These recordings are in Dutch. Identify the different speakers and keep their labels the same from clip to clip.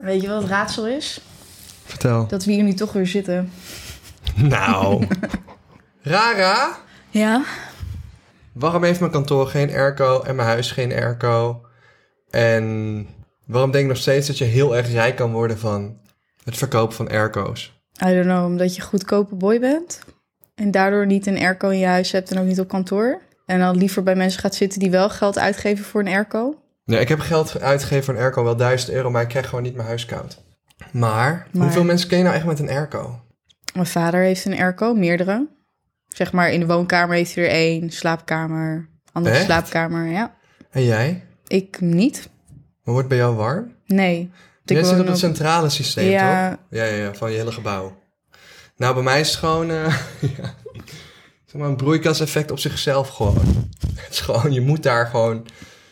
Speaker 1: Weet je wat het raadsel is?
Speaker 2: Vertel.
Speaker 1: Dat we hier nu toch weer zitten.
Speaker 2: Nou. Rara,
Speaker 1: Ja?
Speaker 2: waarom heeft mijn kantoor geen airco en mijn huis geen airco? En waarom denk ik nog steeds dat je heel erg rijk kan worden van het verkoop van airco's?
Speaker 1: I don't know, omdat je goedkope boy bent. En daardoor niet een airco in je huis hebt en ook niet op kantoor. En dan liever bij mensen gaat zitten die wel geld uitgeven voor een airco.
Speaker 2: Nee, Nou, ik heb geld uitgegeven voor een airco, wel 1000 euro, maar ik krijg gewoon niet mijn huis koud. Maar,
Speaker 1: Maar-
Speaker 2: hoeveel mensen ken je nou echt met een airco?
Speaker 1: Mijn vader heeft een airco, meerdere. Zeg maar in de woonkamer heeft hij er één, slaapkamer, andere
Speaker 2: Echt?
Speaker 1: slaapkamer. Ja,
Speaker 2: En jij?
Speaker 1: ik niet.
Speaker 2: Maar wordt bij jou warm?
Speaker 1: Nee. Want ik
Speaker 2: Jij
Speaker 1: woon
Speaker 2: zit op
Speaker 1: op-
Speaker 2: het centrale systeem,
Speaker 1: Ja.
Speaker 2: toch? Ja, ja, ja, van je hele gebouw. Nou, bij mij is het gewoon eh, ja, zeg maar een broeikaseffect op zichzelf gewoon. Het is gewoon, je moet daar gewoon...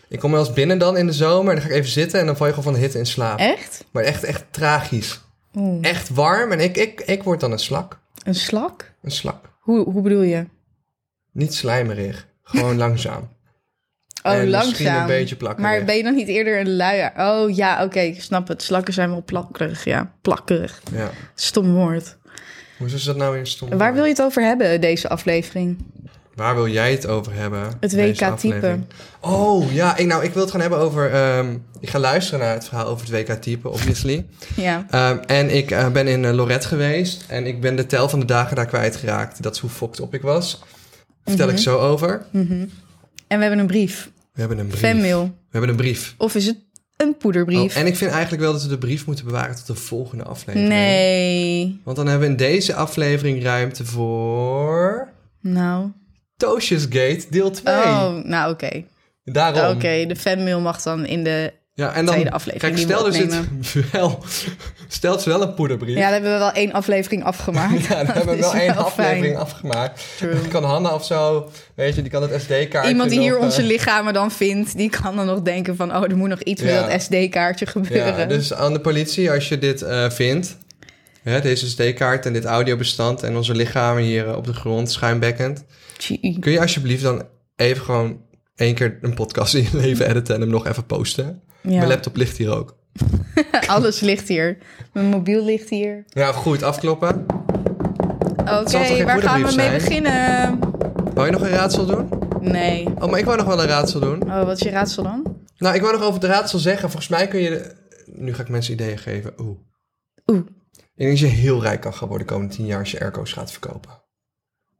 Speaker 2: Ik kom wel eens binnen dan in de zomer en dan ga ik even zitten... en dan val je gewoon van de hitte in slaap.
Speaker 1: Echt?
Speaker 2: Maar echt, echt tragisch.
Speaker 1: Oeh,
Speaker 2: Echt warm en ik, ik, ik word dan een slak.
Speaker 1: Een slak?
Speaker 2: Een slak.
Speaker 1: Hoe, hoe bedoel je?
Speaker 2: Niet slijmerig. Gewoon langzaam.
Speaker 1: Oh,
Speaker 2: en misschien
Speaker 1: langzaam.
Speaker 2: een beetje plakkerig.
Speaker 1: Maar ben je dan niet eerder een luier? Oh ja, oké, ik snap het. Slakken zijn wel plakkerig, ja. Plakkerig.
Speaker 2: Ja.
Speaker 1: Stom woord.
Speaker 2: Hoe is dat nou weer stom?
Speaker 1: Waar wil je het over hebben, deze aflevering?
Speaker 2: Waar wil jij het over hebben?
Speaker 1: Het
Speaker 2: in
Speaker 1: WK
Speaker 2: deze aflevering? Oh ja, ik, nou, ik wil het gaan hebben over. ehm, ik ga luisteren naar het verhaal over het WK-type, obviously.
Speaker 1: Ja.
Speaker 2: Ehm, en ik eh, ben in eh, Lorette geweest. En ik ben de tel van de dagen daar kwijtgeraakt. Dat is hoe fokt op ik was. Vertel
Speaker 1: Mhm.
Speaker 2: ik zo over.
Speaker 1: En we hebben een brief.
Speaker 2: We hebben een brief.
Speaker 1: Fanmail.
Speaker 2: We hebben een brief.
Speaker 1: Of is het een poederbrief?
Speaker 2: Oh, en ik vind eigenlijk wel dat we de brief moeten bewaren tot de volgende aflevering.
Speaker 1: nee.
Speaker 2: Want dan hebben we in deze aflevering ruimte voor.
Speaker 1: Nou.
Speaker 2: Toosjesgate, deel 2.
Speaker 1: Oh, nou oké. Nou,
Speaker 2: Daarom.
Speaker 1: Oké, de fanmail mag dan in de...
Speaker 2: Ja, en dan,
Speaker 1: Tweede aflevering
Speaker 2: Kijk,
Speaker 1: die
Speaker 2: stel
Speaker 1: we
Speaker 2: er zit wel, stel het is wel een poederbrief.
Speaker 1: Ja, daar hebben we wel één aflevering afgemaakt.
Speaker 2: Ja, dan hebben we
Speaker 1: Dat
Speaker 2: wel
Speaker 1: is
Speaker 2: één
Speaker 1: wel fijn.
Speaker 2: aflevering afgemaakt.
Speaker 1: True.
Speaker 2: Dan kan Hanna of zo, weet je, die kan het SD-kaartje
Speaker 1: Iemand die hier
Speaker 2: nog, eh,
Speaker 1: onze lichamen dan vindt, die kan dan nog denken van... oh, er moet nog iets
Speaker 2: Ja.
Speaker 1: met dat SD-kaartje gebeuren.
Speaker 2: Ja, dus aan de politie, als je dit eh, vindt, hè, deze SD-kaart en dit audiobestand en onze lichamen hier eh, op de grond schuimbekkend,
Speaker 1: Tjie.
Speaker 2: kun je alsjeblieft dan even gewoon één keer een podcast in je leven editen en hem nog even posten?
Speaker 1: Ja.
Speaker 2: Mijn laptop ligt hier ook.
Speaker 1: Alles ligt hier. Mijn mobiel ligt hier.
Speaker 2: Ja, goed, afkloppen.
Speaker 1: Oké,
Speaker 2: zal toch geen
Speaker 1: waar gaan we mee
Speaker 2: moederbrief
Speaker 1: beginnen?
Speaker 2: zijn? Wou je nog een raadsel doen?
Speaker 1: Nee.
Speaker 2: Oh, maar ik wou nog wel een raadsel doen.
Speaker 1: Oh, wat is je raadsel dan?
Speaker 2: Nou, ik wou nog over het raadsel zeggen. Volgens mij kun je... de- Nu ga ik mensen ideeën geven. Oeh.
Speaker 1: Oeh.
Speaker 2: Ik denk dat je heel rijk kan gaan worden de komende tien jaar als je airco's gaat verkopen.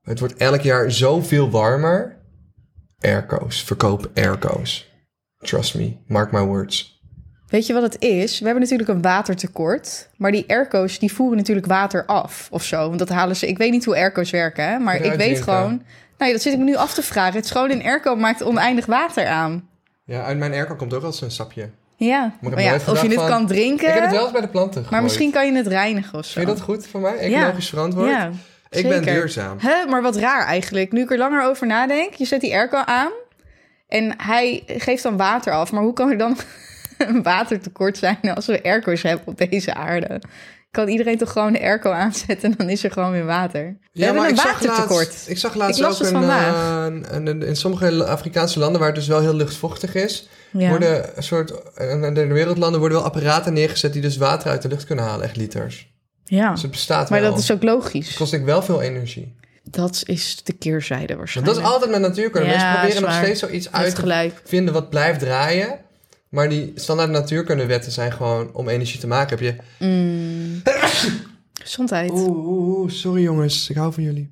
Speaker 2: Het wordt elk jaar zoveel warmer. Airco's. Verkoop airco's. Trust me. Mark my words.
Speaker 1: Weet je wat het is? We hebben natuurlijk een watertekort. Maar die airco's die voeren natuurlijk water af of zo. Want dat halen ze. Ik weet niet hoe airco's werken, hè? maar
Speaker 2: Eruit
Speaker 1: ik weet
Speaker 2: drinken.
Speaker 1: gewoon. Nou, ja, dat zit ik me nu af te vragen. Het schoon in airco maakt oneindig water aan.
Speaker 2: Ja, uit mijn airco komt ook wel eens een sapje. Ik
Speaker 1: Ja,
Speaker 2: heb
Speaker 1: Maar ja,
Speaker 2: nooit
Speaker 1: of
Speaker 2: gedacht
Speaker 1: je het
Speaker 2: van-
Speaker 1: kan drinken.
Speaker 2: heb het wel eens bij de planten gegooid.
Speaker 1: Maar misschien kan je het reinigen of zo.
Speaker 2: Vind je dat goed voor mij? Ecologisch verantwoord?
Speaker 1: Ja,
Speaker 2: ik ben
Speaker 1: zeker.
Speaker 2: duurzaam.
Speaker 1: Hè, maar wat raar eigenlijk. Nu ik er langer over nadenk, je zet die airco aan en hij geeft dan water af. Maar hoe kan er dan een watertekort zijn als we airco's hebben op deze aarde? Kan iedereen toch gewoon de airco aanzetten en dan is er gewoon weer water? We hebben een
Speaker 2: ik zag
Speaker 1: watertekort.
Speaker 2: laatst- Ik zag laatst
Speaker 1: Ik las
Speaker 2: ook
Speaker 1: het
Speaker 2: een,
Speaker 1: vandaag.
Speaker 2: eh, een- een- een- in sommige Afrikaanse landen waar het dus wel heel luchtvochtig is,
Speaker 1: Ja.
Speaker 2: worden een soort, en in de wereldlanden worden wel apparaten neergezet die dus water uit de lucht kunnen halen, echt liters.
Speaker 1: ja,
Speaker 2: Dus het bestaat
Speaker 1: maar
Speaker 2: wel.
Speaker 1: dat is ook logisch.
Speaker 2: kost ik wel veel energie.
Speaker 1: Dat is de keerzijde
Speaker 2: Want
Speaker 1: waarschijnlijk.
Speaker 2: dat is altijd met natuurkunde.
Speaker 1: Ja,
Speaker 2: Mensen proberen
Speaker 1: is
Speaker 2: nog
Speaker 1: waar.
Speaker 2: steeds zoiets
Speaker 1: Je
Speaker 2: uit
Speaker 1: hebt
Speaker 2: te
Speaker 1: gelijk.
Speaker 2: vinden wat blijft draaien. Maar die standaard natuurkundewetten zijn gewoon om energie te maken. Heb je...
Speaker 1: Mm. Gezondheid.
Speaker 2: Oeh, oeh, oeh, sorry jongens, ik hou van jullie.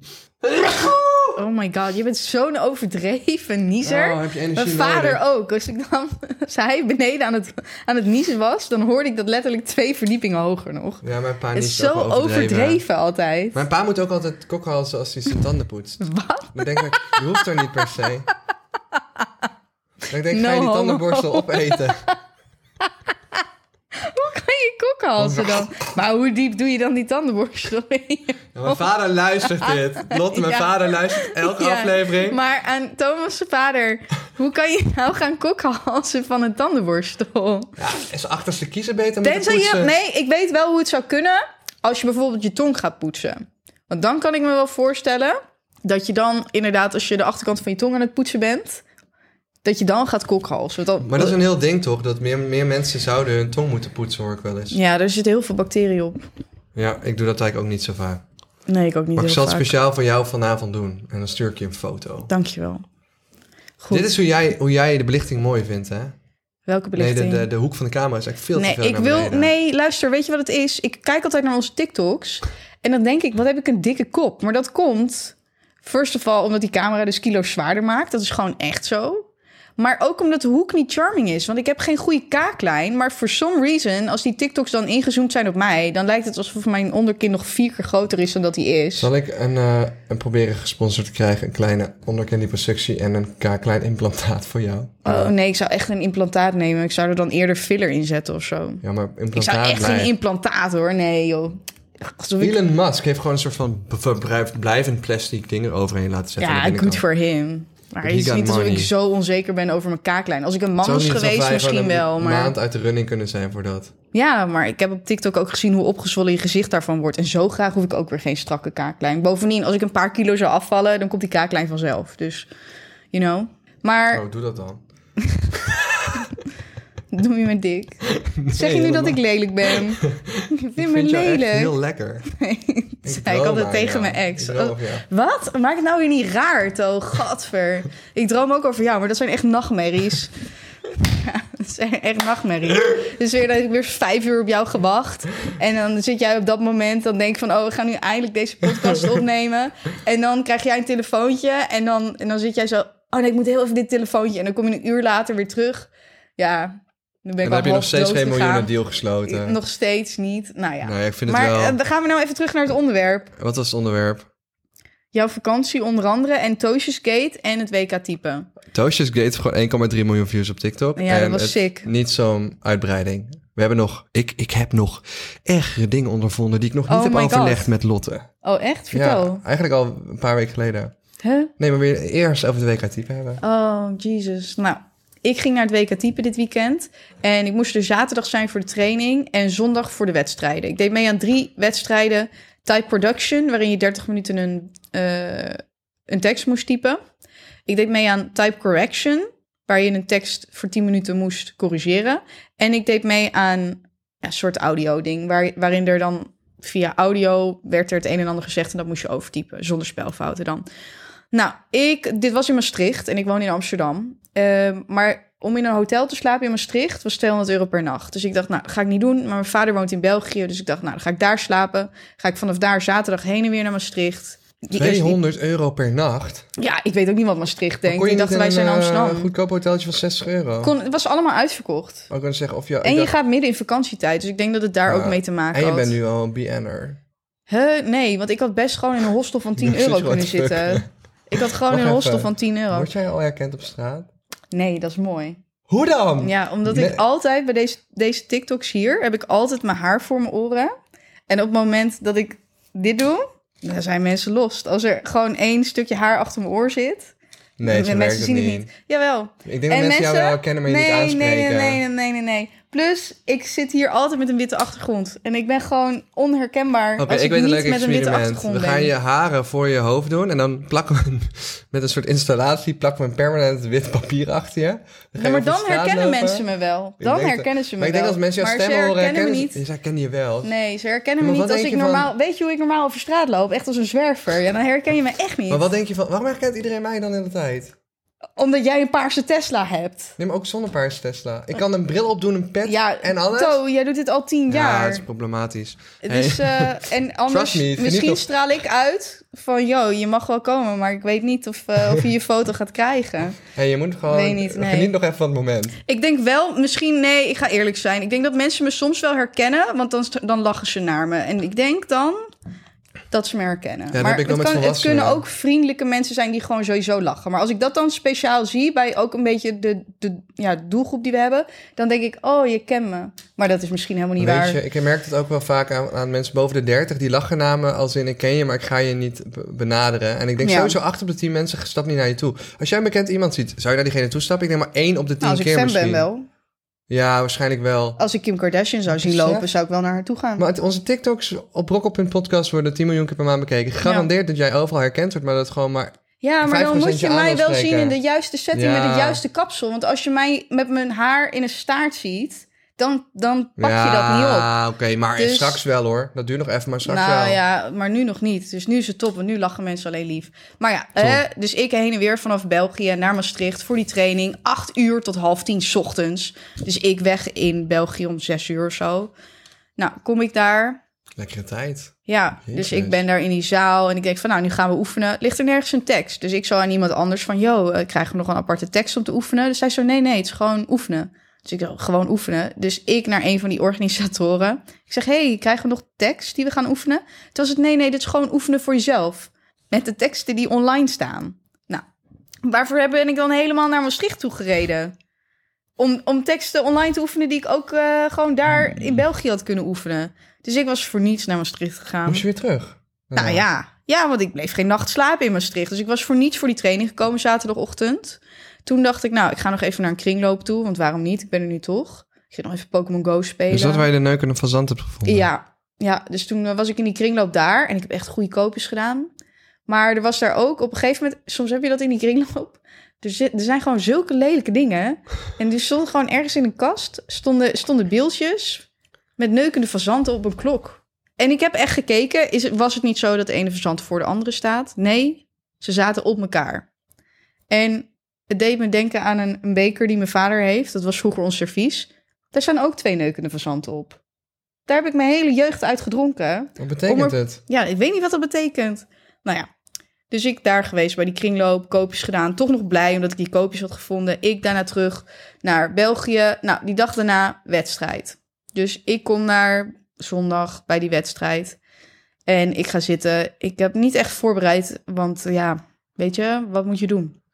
Speaker 1: Oh my god, je bent zo'n overdreven niezer.
Speaker 2: Oh, heb je energie
Speaker 1: Mijn vader
Speaker 2: nodig?
Speaker 1: ook. Als, ik dan, als hij beneden aan het, aan het niezen was, dan hoorde ik dat letterlijk twee verdiepingen hoger nog.
Speaker 2: Ja, mijn pa
Speaker 1: Het
Speaker 2: niet
Speaker 1: is zo overdreven altijd.
Speaker 2: Mijn pa moet ook altijd kokhalzen als hij zijn tanden poetst.
Speaker 1: Wat?
Speaker 2: Dan denk ik, je hoeft er niet per se. Dan denk ik, ga je
Speaker 1: No
Speaker 2: die
Speaker 1: homo.
Speaker 2: tandenborstel opeten?
Speaker 1: Hoe kan je kokhalzen dan? Maar hoe diep doe je dan die tandenborstel in?
Speaker 2: Ja, mijn vader luistert dit. Lotte, mijn
Speaker 1: Ja.
Speaker 2: vader luistert elke
Speaker 1: Ja,
Speaker 2: aflevering.
Speaker 1: Maar aan Thomas' vader, hoe kan je nou gaan kokhalzen van een tandenborstel?
Speaker 2: Ja, is achterste kiezen beter met
Speaker 1: Tenzij
Speaker 2: de
Speaker 1: je...
Speaker 2: poetsen?
Speaker 1: Nee, ik weet wel hoe het zou kunnen als je bijvoorbeeld je tong gaat poetsen. Want dan kan ik me wel voorstellen dat je dan inderdaad... als je de achterkant van je tong aan het poetsen bent... dat je dan gaat kokhalzen. Want dan-
Speaker 2: Maar dat is een heel ding toch? Dat meer, meer mensen zouden hun tong moeten poetsen, hoor ik wel eens. Ja,
Speaker 1: Ja, er zitten heel veel bacteriën op.
Speaker 2: ik doe dat eigenlijk ook niet zo vaak.
Speaker 1: Nee, ik ook niet
Speaker 2: Maar ik zal
Speaker 1: heel
Speaker 2: het
Speaker 1: vaak.
Speaker 2: speciaal voor jou vanavond doen. En dan stuur ik je een foto.
Speaker 1: Dankjewel. Goed.
Speaker 2: Dit is hoe jij, hoe jij de belichting mooi vindt, hè?
Speaker 1: Welke belichting?
Speaker 2: Nee, de, de, de hoek van de camera is eigenlijk veel
Speaker 1: nee,
Speaker 2: te veel
Speaker 1: ik
Speaker 2: naar
Speaker 1: wil.
Speaker 2: beneden.
Speaker 1: Nee, luister, weet je wat het is? Ik kijk altijd naar onze TikToks. En dan denk ik, wat heb ik een dikke kop? Maar dat komt, first of all, omdat die camera dus kilo's zwaarder maakt. Dat is gewoon echt zo. Maar ook omdat de hoek niet charming is. Want ik heb geen goede kaaklijn. Maar for some reason, als die TikToks dan ingezoomd zijn op mij... dan lijkt het alsof mijn onderkin nog vier keer groter is dan dat die is.
Speaker 2: Zal ik een, eh, een proberen gesponsord te krijgen? Een kleine onderkendiproductie en een ka- klein implantaat voor jou.
Speaker 1: Oh nee, ik zou echt een implantaat nemen. Ik zou er dan eerder filler in zetten of zo.
Speaker 2: Ja, maar
Speaker 1: Ik zou
Speaker 2: implantaat
Speaker 1: echt geen
Speaker 2: blijft.
Speaker 1: implantaat hoor. Nee joh. Alsof ik...
Speaker 2: Elon Musk heeft gewoon een soort van b- verbruikt- blijvend plastic ding eroverheen laten zetten. aan
Speaker 1: Ja,
Speaker 2: de binnenkant.
Speaker 1: good for him. Maar
Speaker 2: But
Speaker 1: het is
Speaker 2: he got
Speaker 1: niet alsof
Speaker 2: money.
Speaker 1: ik zo onzeker ben over mijn kaaklijn. Als ik een man
Speaker 2: Het
Speaker 1: was
Speaker 2: is ook niet alsof
Speaker 1: geweest
Speaker 2: wij gewoon
Speaker 1: misschien
Speaker 2: een
Speaker 1: wel. Maar...
Speaker 2: maand uit de running kunnen zijn voor dat.
Speaker 1: Ja, maar ik heb op TikTok ook gezien hoe opgezwollen je gezicht daarvan wordt. En zo graag hoef ik ook weer geen strakke kaaklijn. Bovendien, als ik een paar kilo zou afvallen, dan komt die kaaklijn vanzelf. Dus, you know. Maar
Speaker 2: Oh, doe dat dan. Oh.
Speaker 1: noem je me dik? zeg je nu dat ik lelijk ben? ik vind
Speaker 2: Ik
Speaker 1: me
Speaker 2: vind jou echt
Speaker 1: lelijk.
Speaker 2: heel lekker.
Speaker 1: Dat zei ik
Speaker 2: droom
Speaker 1: altijd
Speaker 2: aan
Speaker 1: tegen
Speaker 2: jou.
Speaker 1: mijn ex.
Speaker 2: Ik droom
Speaker 1: Oh,
Speaker 2: op jou.
Speaker 1: Wat? Maak het nou weer niet raar, toch? Gadver. Ik droom ook over jou, maar dat zijn echt nachtmerries. Ja, dat zijn echt nachtmerries. Dus weer dat ik weer vijf uur op jou gewacht. En dan zit jij op dat moment, dan denk je van... oh, we gaan nu eindelijk deze podcast opnemen. En dan krijg jij een telefoontje en dan, en dan zit jij zo... oh nee, ik moet heel even dit telefoontje. En dan kom je een uur later weer terug. Ja, dan ben ik
Speaker 2: En dan
Speaker 1: al
Speaker 2: heb je nog
Speaker 1: half
Speaker 2: steeds
Speaker 1: dood
Speaker 2: geen
Speaker 1: gegaan.
Speaker 2: miljoenen deal gesloten.
Speaker 1: Nog steeds niet. Nou ja.
Speaker 2: Nou ja, ik vind het
Speaker 1: maar
Speaker 2: wel-
Speaker 1: eh, dan gaan we nou even terug naar het onderwerp.
Speaker 2: Wat was het onderwerp?
Speaker 1: Jouw vakantie onder andere en Toosjesgate en het WK-type.
Speaker 2: Toastjes Gate heeft gewoon 1,3 miljoen views op TikTok.
Speaker 1: Ja, dat
Speaker 2: En
Speaker 1: was
Speaker 2: het-
Speaker 1: sick.
Speaker 2: Niet zo'n uitbreiding. We hebben nog, ik, ik heb nog ergere dingen ondervonden die ik nog niet
Speaker 1: Oh
Speaker 2: heb
Speaker 1: my God.
Speaker 2: overlegd met Lotte.
Speaker 1: Oh, echt?
Speaker 2: Ja,
Speaker 1: Vertel.
Speaker 2: eigenlijk al een paar weken geleden.
Speaker 1: Huh?
Speaker 2: Nee, maar weer eerst over de WK type hebben.
Speaker 1: Oh, Jesus. Nou, ik ging naar het WK-type dit weekend. En ik moest er zaterdag zijn voor de training en zondag voor de wedstrijden. Ik deed mee aan drie wedstrijden. Type Production, waarin je 30 minuten een, eh, een tekst moest typen. Ik deed mee aan Type Correction, waar je een tekst voor 10 minuten moest corrigeren. En ik deed mee aan ja, een soort audio-ding, waar, waarin er dan via audio werd er het een en ander gezegd en dat moest je overtypen, zonder spelfouten dan. Nou, ik, dit was in Maastricht en ik woon in Amsterdam. Ehm, maar om in een hotel te slapen in Maastricht was 200 euro per nacht. Dus ik dacht, nou, dat ga ik niet doen. Maar mijn vader woont in België, dus ik dacht, nou, dan ga ik daar slapen. Ga ik vanaf daar zaterdag heen en weer naar Maastricht. Die eerste-
Speaker 2: 200 euro per nacht.
Speaker 1: ja, ik weet ook niet wat Maastricht
Speaker 2: Dan
Speaker 1: denkt. Ik dacht,
Speaker 2: niet
Speaker 1: wij
Speaker 2: in
Speaker 1: zijn in
Speaker 2: een, eh,
Speaker 1: Amsterdam.
Speaker 2: goedkoop hoteltje van 60 euro.
Speaker 1: Kon, het was allemaal uitverkocht.
Speaker 2: Ook kunnen zeggen of je...
Speaker 1: En je gaat midden in vakantietijd, dus ik denk dat het daar
Speaker 2: Ja,
Speaker 1: ook mee te maken
Speaker 2: en je
Speaker 1: had.
Speaker 2: bent nu al een BN'er.
Speaker 1: Huh? Nee, want ik had best gewoon in een hostel van 10
Speaker 2: Precies,
Speaker 1: euro
Speaker 2: what
Speaker 1: kunnen
Speaker 2: the fuck.
Speaker 1: zitten. Ik had gewoon
Speaker 2: Wacht
Speaker 1: in een hostel
Speaker 2: even.
Speaker 1: van 10 euro.
Speaker 2: Word jij al herkend op straat?
Speaker 1: Nee, dat is mooi.
Speaker 2: Hoe dan?
Speaker 1: Ja, omdat
Speaker 2: Nee.
Speaker 1: ik altijd bij deze, deze TikToks hier heb ik altijd mijn haar voor mijn oren. En op het moment dat ik dit doe, dan zijn mensen lost. Als er gewoon één stukje haar achter mijn oor zit,
Speaker 2: Nee, zo
Speaker 1: en
Speaker 2: werkt
Speaker 1: mensen
Speaker 2: het
Speaker 1: zien
Speaker 2: niet.
Speaker 1: het niet. Jawel.
Speaker 2: Ik denk dat mensen, jou wel kennen, maar je
Speaker 1: nee,
Speaker 2: niet aanspreken.
Speaker 1: Nee, nee, nee, nee, nee, nee. Plus, ik zit hier altijd met een witte achtergrond. En ik ben gewoon onherkenbaar
Speaker 2: Oké,
Speaker 1: als ik,
Speaker 2: ik weet een
Speaker 1: niet
Speaker 2: leuk
Speaker 1: met een witte
Speaker 2: experiment.
Speaker 1: achtergrond
Speaker 2: We
Speaker 1: ben.
Speaker 2: gaan je haren voor je hoofd doen en dan plakken we een- met een soort installatie plakken we een permanent wit papier achter je. Dan ga
Speaker 1: Ja,
Speaker 2: je
Speaker 1: maar
Speaker 2: over de
Speaker 1: dan
Speaker 2: straat
Speaker 1: herkennen
Speaker 2: lopen.
Speaker 1: mensen me wel.
Speaker 2: Ik
Speaker 1: Dan
Speaker 2: denk dat-
Speaker 1: herkennen ze me
Speaker 2: Maar ik
Speaker 1: wel.
Speaker 2: denk als mensen jouw
Speaker 1: Maar ze
Speaker 2: stem horen,
Speaker 1: herkennen me
Speaker 2: herkennen ze-
Speaker 1: niet.
Speaker 2: Ze herkennen je wel.
Speaker 1: Nee, ze herkennen me
Speaker 2: Ja, maar
Speaker 1: niet
Speaker 2: wat
Speaker 1: als ik
Speaker 2: denk je van-
Speaker 1: normaal... Weet je hoe ik normaal over straat loop? Echt als een zwerver. Ja, dan herken je me echt niet.
Speaker 2: Maar wat denk je van, waarom herkent iedereen mij dan in de tijd?
Speaker 1: Omdat jij een paarse Tesla hebt.
Speaker 2: Neem ook zonder paars Tesla. Ik kan een bril opdoen, een pet
Speaker 1: Ja,
Speaker 2: en alles.
Speaker 1: To, jij doet dit al tien
Speaker 2: Ja,
Speaker 1: jaar.
Speaker 2: dat is problematisch.
Speaker 1: Dus,
Speaker 2: Hey.
Speaker 1: eh, en anders,
Speaker 2: me, het
Speaker 1: misschien
Speaker 2: geniet of-
Speaker 1: straal ik uit van, yo, je mag wel komen, maar ik weet niet of, eh, of je je foto gaat krijgen.
Speaker 2: Hey, je moet gewoon
Speaker 1: Weet niet, nee.
Speaker 2: geniet nog even van het moment.
Speaker 1: Ik denk wel, misschien, nee, ik ga eerlijk zijn. Ik denk dat mensen me soms wel herkennen, want dan, dan lachen ze naar me. En ik denk dan dat ze me herkennen.
Speaker 2: dat heb ik wel
Speaker 1: het,
Speaker 2: met
Speaker 1: het
Speaker 2: volwassenen.
Speaker 1: kunnen ook vriendelijke mensen zijn die gewoon sowieso lachen. Maar als ik dat dan speciaal zie bij ook een beetje de, de ja, doelgroep die we hebben, dan denk ik, oh, je kent me. Maar dat is misschien helemaal niet waar. Nou,
Speaker 2: Weet je, ik merk het ook wel vaak aan, aan mensen boven de 30 die lachen naar me als in ik ken je, maar ik ga je niet be- benaderen. En ik denk
Speaker 1: Ja.
Speaker 2: sowieso acht op de 10 mensen stapt niet naar je toe. Als jij een bekend iemand ziet, zou je naar diegene toe stappen? Ik denk maar één op de 10
Speaker 1: Nou, als ik
Speaker 2: keer
Speaker 1: fan
Speaker 2: misschien.
Speaker 1: ben wel. Oh.
Speaker 2: Ja, waarschijnlijk wel.
Speaker 1: Als ik Kim Kardashian zou zien
Speaker 2: Zeg.
Speaker 1: lopen, zou ik wel naar haar toe gaan.
Speaker 2: Maar het- onze TikToks op Brokkel.podcast worden 10 miljoen keer per maand bekeken. Gegarandeerd dat jij overal herkend wordt, maar dat het gewoon maar
Speaker 1: Ja, maar dan
Speaker 2: 50%
Speaker 1: moet je
Speaker 2: je
Speaker 1: mij wel
Speaker 2: aandachtstrekker.
Speaker 1: zien in de juiste setting met het
Speaker 2: Ja.
Speaker 1: juiste kapsel. Want als je mij met mijn haar in een staart ziet, dan, dan pak je dat niet op.
Speaker 2: Ja, oké, maar
Speaker 1: Dus-
Speaker 2: straks wel hoor. Dat duurt nog even, maar straks
Speaker 1: Nou
Speaker 2: wel.
Speaker 1: ja, maar nu nog niet. Dus nu is het top, want nu lachen mensen alleen lief. Maar ja, eh, dus ik heen en weer vanaf België naar Maastricht voor die training. Acht uur tot half tien 's ochtends. Dus ik weg in België om zes uur of zo. Nou, kom ik daar.
Speaker 2: Lekkere tijd.
Speaker 1: Ja, dus
Speaker 2: Jezus.
Speaker 1: ik ben daar in die zaal en ik denk van nou, nu gaan we oefenen. Ligt er nergens een tekst? Dus ik zo aan iemand anders van, yo, eh, krijgen we nog een aparte tekst om te oefenen? Dus zij zo, nee, nee, het is gewoon oefenen. Dus ik dacht, gewoon oefenen. Dus ik naar een van die organisatoren. Ik zeg, hey, krijgen we nog tekst die we gaan oefenen? Toen was het, nee, nee, dit is gewoon oefenen voor jezelf. Met de teksten die online staan. Nou, waarvoor heb- ben ik dan helemaal naar Maastricht toe gereden? Om, om teksten online te oefenen die ik ook eh, gewoon daar
Speaker 2: Hmm.
Speaker 1: in België had kunnen oefenen. Dus ik was voor niets naar Maastricht gegaan.
Speaker 2: Moest je weer terug?
Speaker 1: Nou ja. ja, want ik bleef geen nacht slapen in Maastricht. Dus ik was voor niets voor die training gekomen zaterdagochtend. Toen dacht ik, nou, ik ga nog even naar een kringloop toe. Want waarom niet? Ik ben er nu toch. Ik zit nog even Pokémon Go spelen.
Speaker 2: Dus dat waar je de neuk in een fazant hebt gevonden?
Speaker 1: Ja, ja, dus toen eh, was ik in die kringloop daar en ik heb echt goede koopjes gedaan. Maar er was daar ook op een gegeven moment, soms heb je dat in die kringloop. Er, zit, er zijn gewoon zulke lelijke dingen. En die stonden gewoon ergens in een kast, stonden, stonden beeldjes met neukende fazanten op een klok. En ik heb echt gekeken, is, het- was het niet zo dat de ene fazant voor de andere staat? Nee, ze zaten op elkaar. En het deed me denken aan een, een beker die mijn vader heeft. Dat was vroeger ons servies. Daar staan ook twee neukende fazanten op. Daar heb ik mijn hele jeugd uit gedronken.
Speaker 2: Wat betekent
Speaker 1: Om er-
Speaker 2: het?
Speaker 1: Ja, ik weet niet wat dat betekent. Nou ja, dus ik daar geweest bij die kringloop, koopjes gedaan. Toch nog blij omdat ik die koopjes had gevonden. Ik daarna terug naar België. Nou, die dag daarna wedstrijd. Dus ik kom naar zondag bij die wedstrijd. En ik ga zitten. Ik heb niet echt voorbereid, want eh, ja, weet je, wat moet je doen?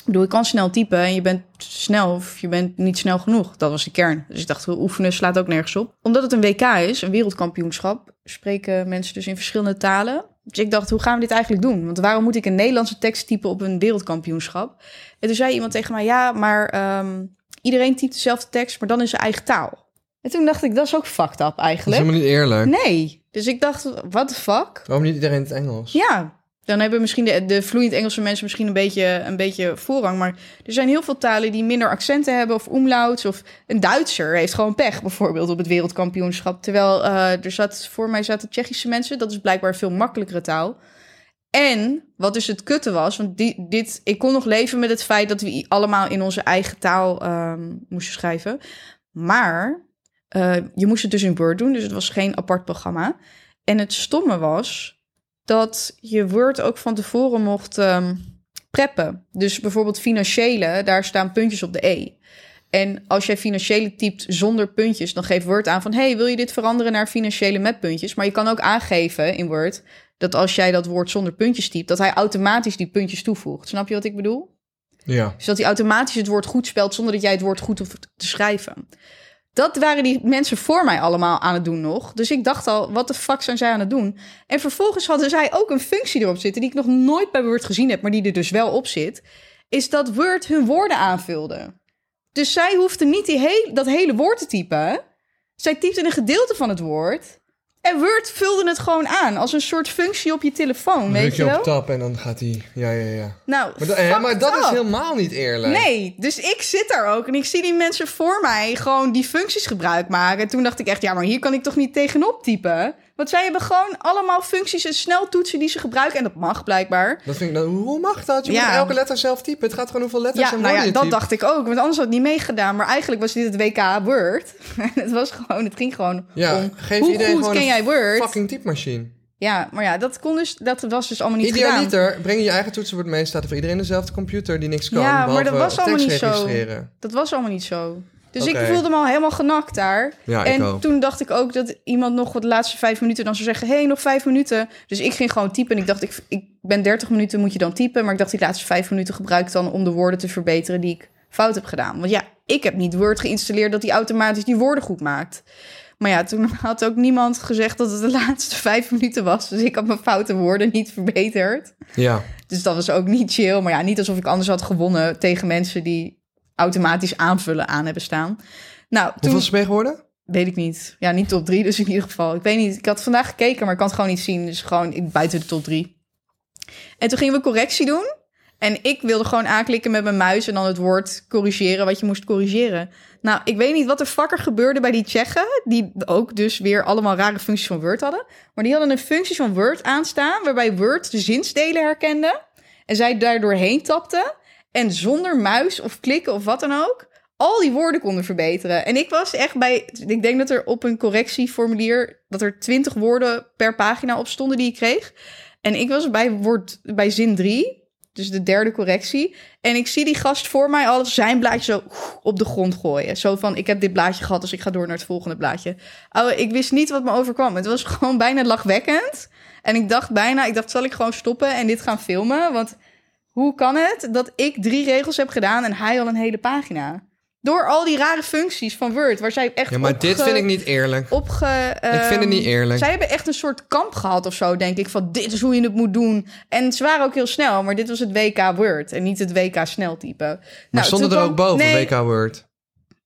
Speaker 1: Ik bedoel, ik kan snel typen en je bent snel of je bent niet snel genoeg. Dat was de kern. Dus ik dacht, oefenen slaat ook nergens op. Omdat het een WK is, een wereldkampioenschap, spreken mensen dus in verschillende talen. Dus ik dacht, hoe gaan we dit eigenlijk doen? Want waarom moet ik een Nederlandse tekst typen op een wereldkampioenschap? En toen zei iemand tegen mij, ja, maar ehm, iedereen typt dezelfde tekst, maar dan in zijn eigen taal. En toen dacht ik, dat is ook fucked up
Speaker 2: Dat is
Speaker 1: eigenlijk.
Speaker 2: helemaal niet eerlijk.
Speaker 1: Nee. Dus ik dacht, what the fuck?
Speaker 2: Waarom niet iedereen in het Engels?
Speaker 1: Ja, dan hebben misschien de, de vloeiend Engelse mensen misschien een beetje, een beetje voorrang. Maar er zijn heel veel talen die minder accenten hebben of omlauts. Of een Duitser heeft gewoon pech bijvoorbeeld op het wereldkampioenschap. Terwijl eh, er zat, voor mij zaten Tsjechische mensen. Dat is blijkbaar een veel makkelijkere taal. En wat dus het kutte was, want die, dit, ik kon nog leven met het feit dat we i- allemaal in onze eigen taal ehm, moesten schrijven. Maar eh, je moest het dus in Word doen, dus het was geen apart programma. En het stomme was, dat je Word ook van tevoren mocht ehm, preppen. Dus bijvoorbeeld financiële, daar staan puntjes op de E. En als jij financiële typt zonder puntjes, dan geeft Word aan van... hey, wil je dit veranderen naar financiële met puntjes? Maar je kan ook aangeven in Word dat als jij dat woord zonder puntjes typt... dat hij automatisch die puntjes toevoegt. Snap je wat ik bedoel?
Speaker 2: Ja.
Speaker 1: Dus dat hij automatisch het woord goed spelt zonder dat jij het woord goed hoeft te schrijven. Dat waren die mensen voor mij allemaal aan het doen nog. Dus ik dacht al, wat de fuck zijn zij aan het doen? En vervolgens hadden zij ook een functie erop zitten die ik nog nooit bij Word gezien heb, maar die er dus wel op zit. Is dat Word hun woorden aanvulde. Dus zij hoefde niet die heel, dat hele woord te typen. Zij typte een gedeelte van het woord. En Word vulde het gewoon aan als een soort functie op je telefoon, weet je
Speaker 2: je
Speaker 1: wel?
Speaker 2: op tap en dan gaat hij... Ja, ja, ja.
Speaker 1: Nou,
Speaker 2: Maar, dat- hè, maar
Speaker 1: fucked
Speaker 2: dat is
Speaker 1: up.
Speaker 2: helemaal niet eerlijk.
Speaker 1: Nee, dus ik zit daar ook en ik zie die mensen voor mij gewoon die functies gebruik maken. En toen dacht ik echt, ja, maar hier kan ik toch niet tegenop typen? Want zij hebben gewoon allemaal functies en sneltoetsen die ze gebruiken. En dat mag blijkbaar.
Speaker 2: Dat vind ik, nou, hoe mag dat? Je
Speaker 1: Ja.
Speaker 2: moet elke letter zelf typen. Het gaat gewoon hoeveel letters
Speaker 1: Ja,
Speaker 2: en
Speaker 1: nou
Speaker 2: woorden
Speaker 1: ja,
Speaker 2: je
Speaker 1: dat
Speaker 2: typt.
Speaker 1: dacht ik ook. Want anders had ik niet meegedaan. Maar eigenlijk was dit het WK Word. En het, was gewoon, het ging gewoon
Speaker 2: Ja,
Speaker 1: om
Speaker 2: geef
Speaker 1: hoe
Speaker 2: iedereen
Speaker 1: goed
Speaker 2: gewoon
Speaker 1: ken
Speaker 2: een
Speaker 1: jij Word?
Speaker 2: Fucking typemachine.
Speaker 1: Ja, maar ja, dat, kon dus, dat was dus allemaal niet gedaan.
Speaker 2: Idealiter, breng je je eigen toetsenbord mee. Staat er voor iedereen dezelfde computer die niks kan.
Speaker 1: Ja, maar
Speaker 2: behalve
Speaker 1: dat was allemaal
Speaker 2: tekst
Speaker 1: niet zo.
Speaker 2: registreren.
Speaker 1: Dat was allemaal niet zo. Dus ik
Speaker 2: Oké.
Speaker 1: voelde me al helemaal genakt daar.
Speaker 2: Ja, ik
Speaker 1: en
Speaker 2: ook.
Speaker 1: toen dacht ik ook dat iemand nog wat laatste vijf minuten dan zou zeggen... hé, hey, nog vijf minuten. Dus ik ging gewoon typen. En ik dacht, ik, ik ben 30 minuten, moet je dan typen. Maar ik dacht, die laatste vijf minuten gebruik ik dan... om de woorden te verbeteren die ik fout heb gedaan. Want ja, ik heb niet Word geïnstalleerd... dat hij automatisch die woorden goed maakt. Maar ja, toen had ook niemand gezegd dat het de laatste vijf minuten was. Dus ik had mijn foute woorden niet verbeterd.
Speaker 2: Ja.
Speaker 1: Dus dat was ook niet chill. Maar ja, niet alsof ik anders had gewonnen tegen mensen die automatisch aanvullen aan hebben staan. Nou, toen
Speaker 2: Hoeveel is het mee geworden?
Speaker 1: weet ik niet. Ja, niet top 3 dus in ieder geval. Ik weet niet. Ik had vandaag gekeken, maar ik kan het gewoon niet zien. Dus gewoon ik buiten de top 3. En toen gingen we correctie doen. En ik wilde gewoon aanklikken met mijn muis en dan het woord corrigeren wat je moest corrigeren. Nou, ik weet niet wat de fucker gebeurde bij die Tsjechen, die ook dus weer allemaal rare functies van Word hadden. Maar die hadden een functie van Word aanstaan, waarbij Word de zinsdelen herkende en zij daar doorheen tapte. En zonder muis of klikken of wat dan ook, al die woorden konden verbeteren. En ik was echt bij, ik denk dat er op een correctieformulier, dat er 20 woorden per pagina op stonden die ik kreeg. En ik was bij, woord, bij zin 3, dus de derde correctie. En ik zie die gast voor mij al zijn blaadje zo op de grond gooien. Zo van, ik heb dit blaadje gehad, dus ik ga door naar het volgende blaadje. Ouwe, ik wist niet wat me overkwam. Het was gewoon bijna lachwekkend. En ik dacht bijna, ik dacht, zal ik gewoon stoppen en dit gaan filmen? Want hoe kan het dat ik drie regels heb gedaan en hij al een hele pagina? Door al die rare functies van Word, waar zij echt
Speaker 2: Ja, maar dit
Speaker 1: opge-
Speaker 2: vind ik niet eerlijk.
Speaker 1: opge.
Speaker 2: Ik vind het niet
Speaker 1: ehm,
Speaker 2: eerlijk.
Speaker 1: Zij hebben echt een soort kamp gehad of zo, denk ik. Van dit is hoe je het moet doen. En ze waren ook heel snel, maar dit was het WK Word en niet het WK sneltype. Maar
Speaker 2: maar stonden er ook boven,
Speaker 1: nee,
Speaker 2: WK Word.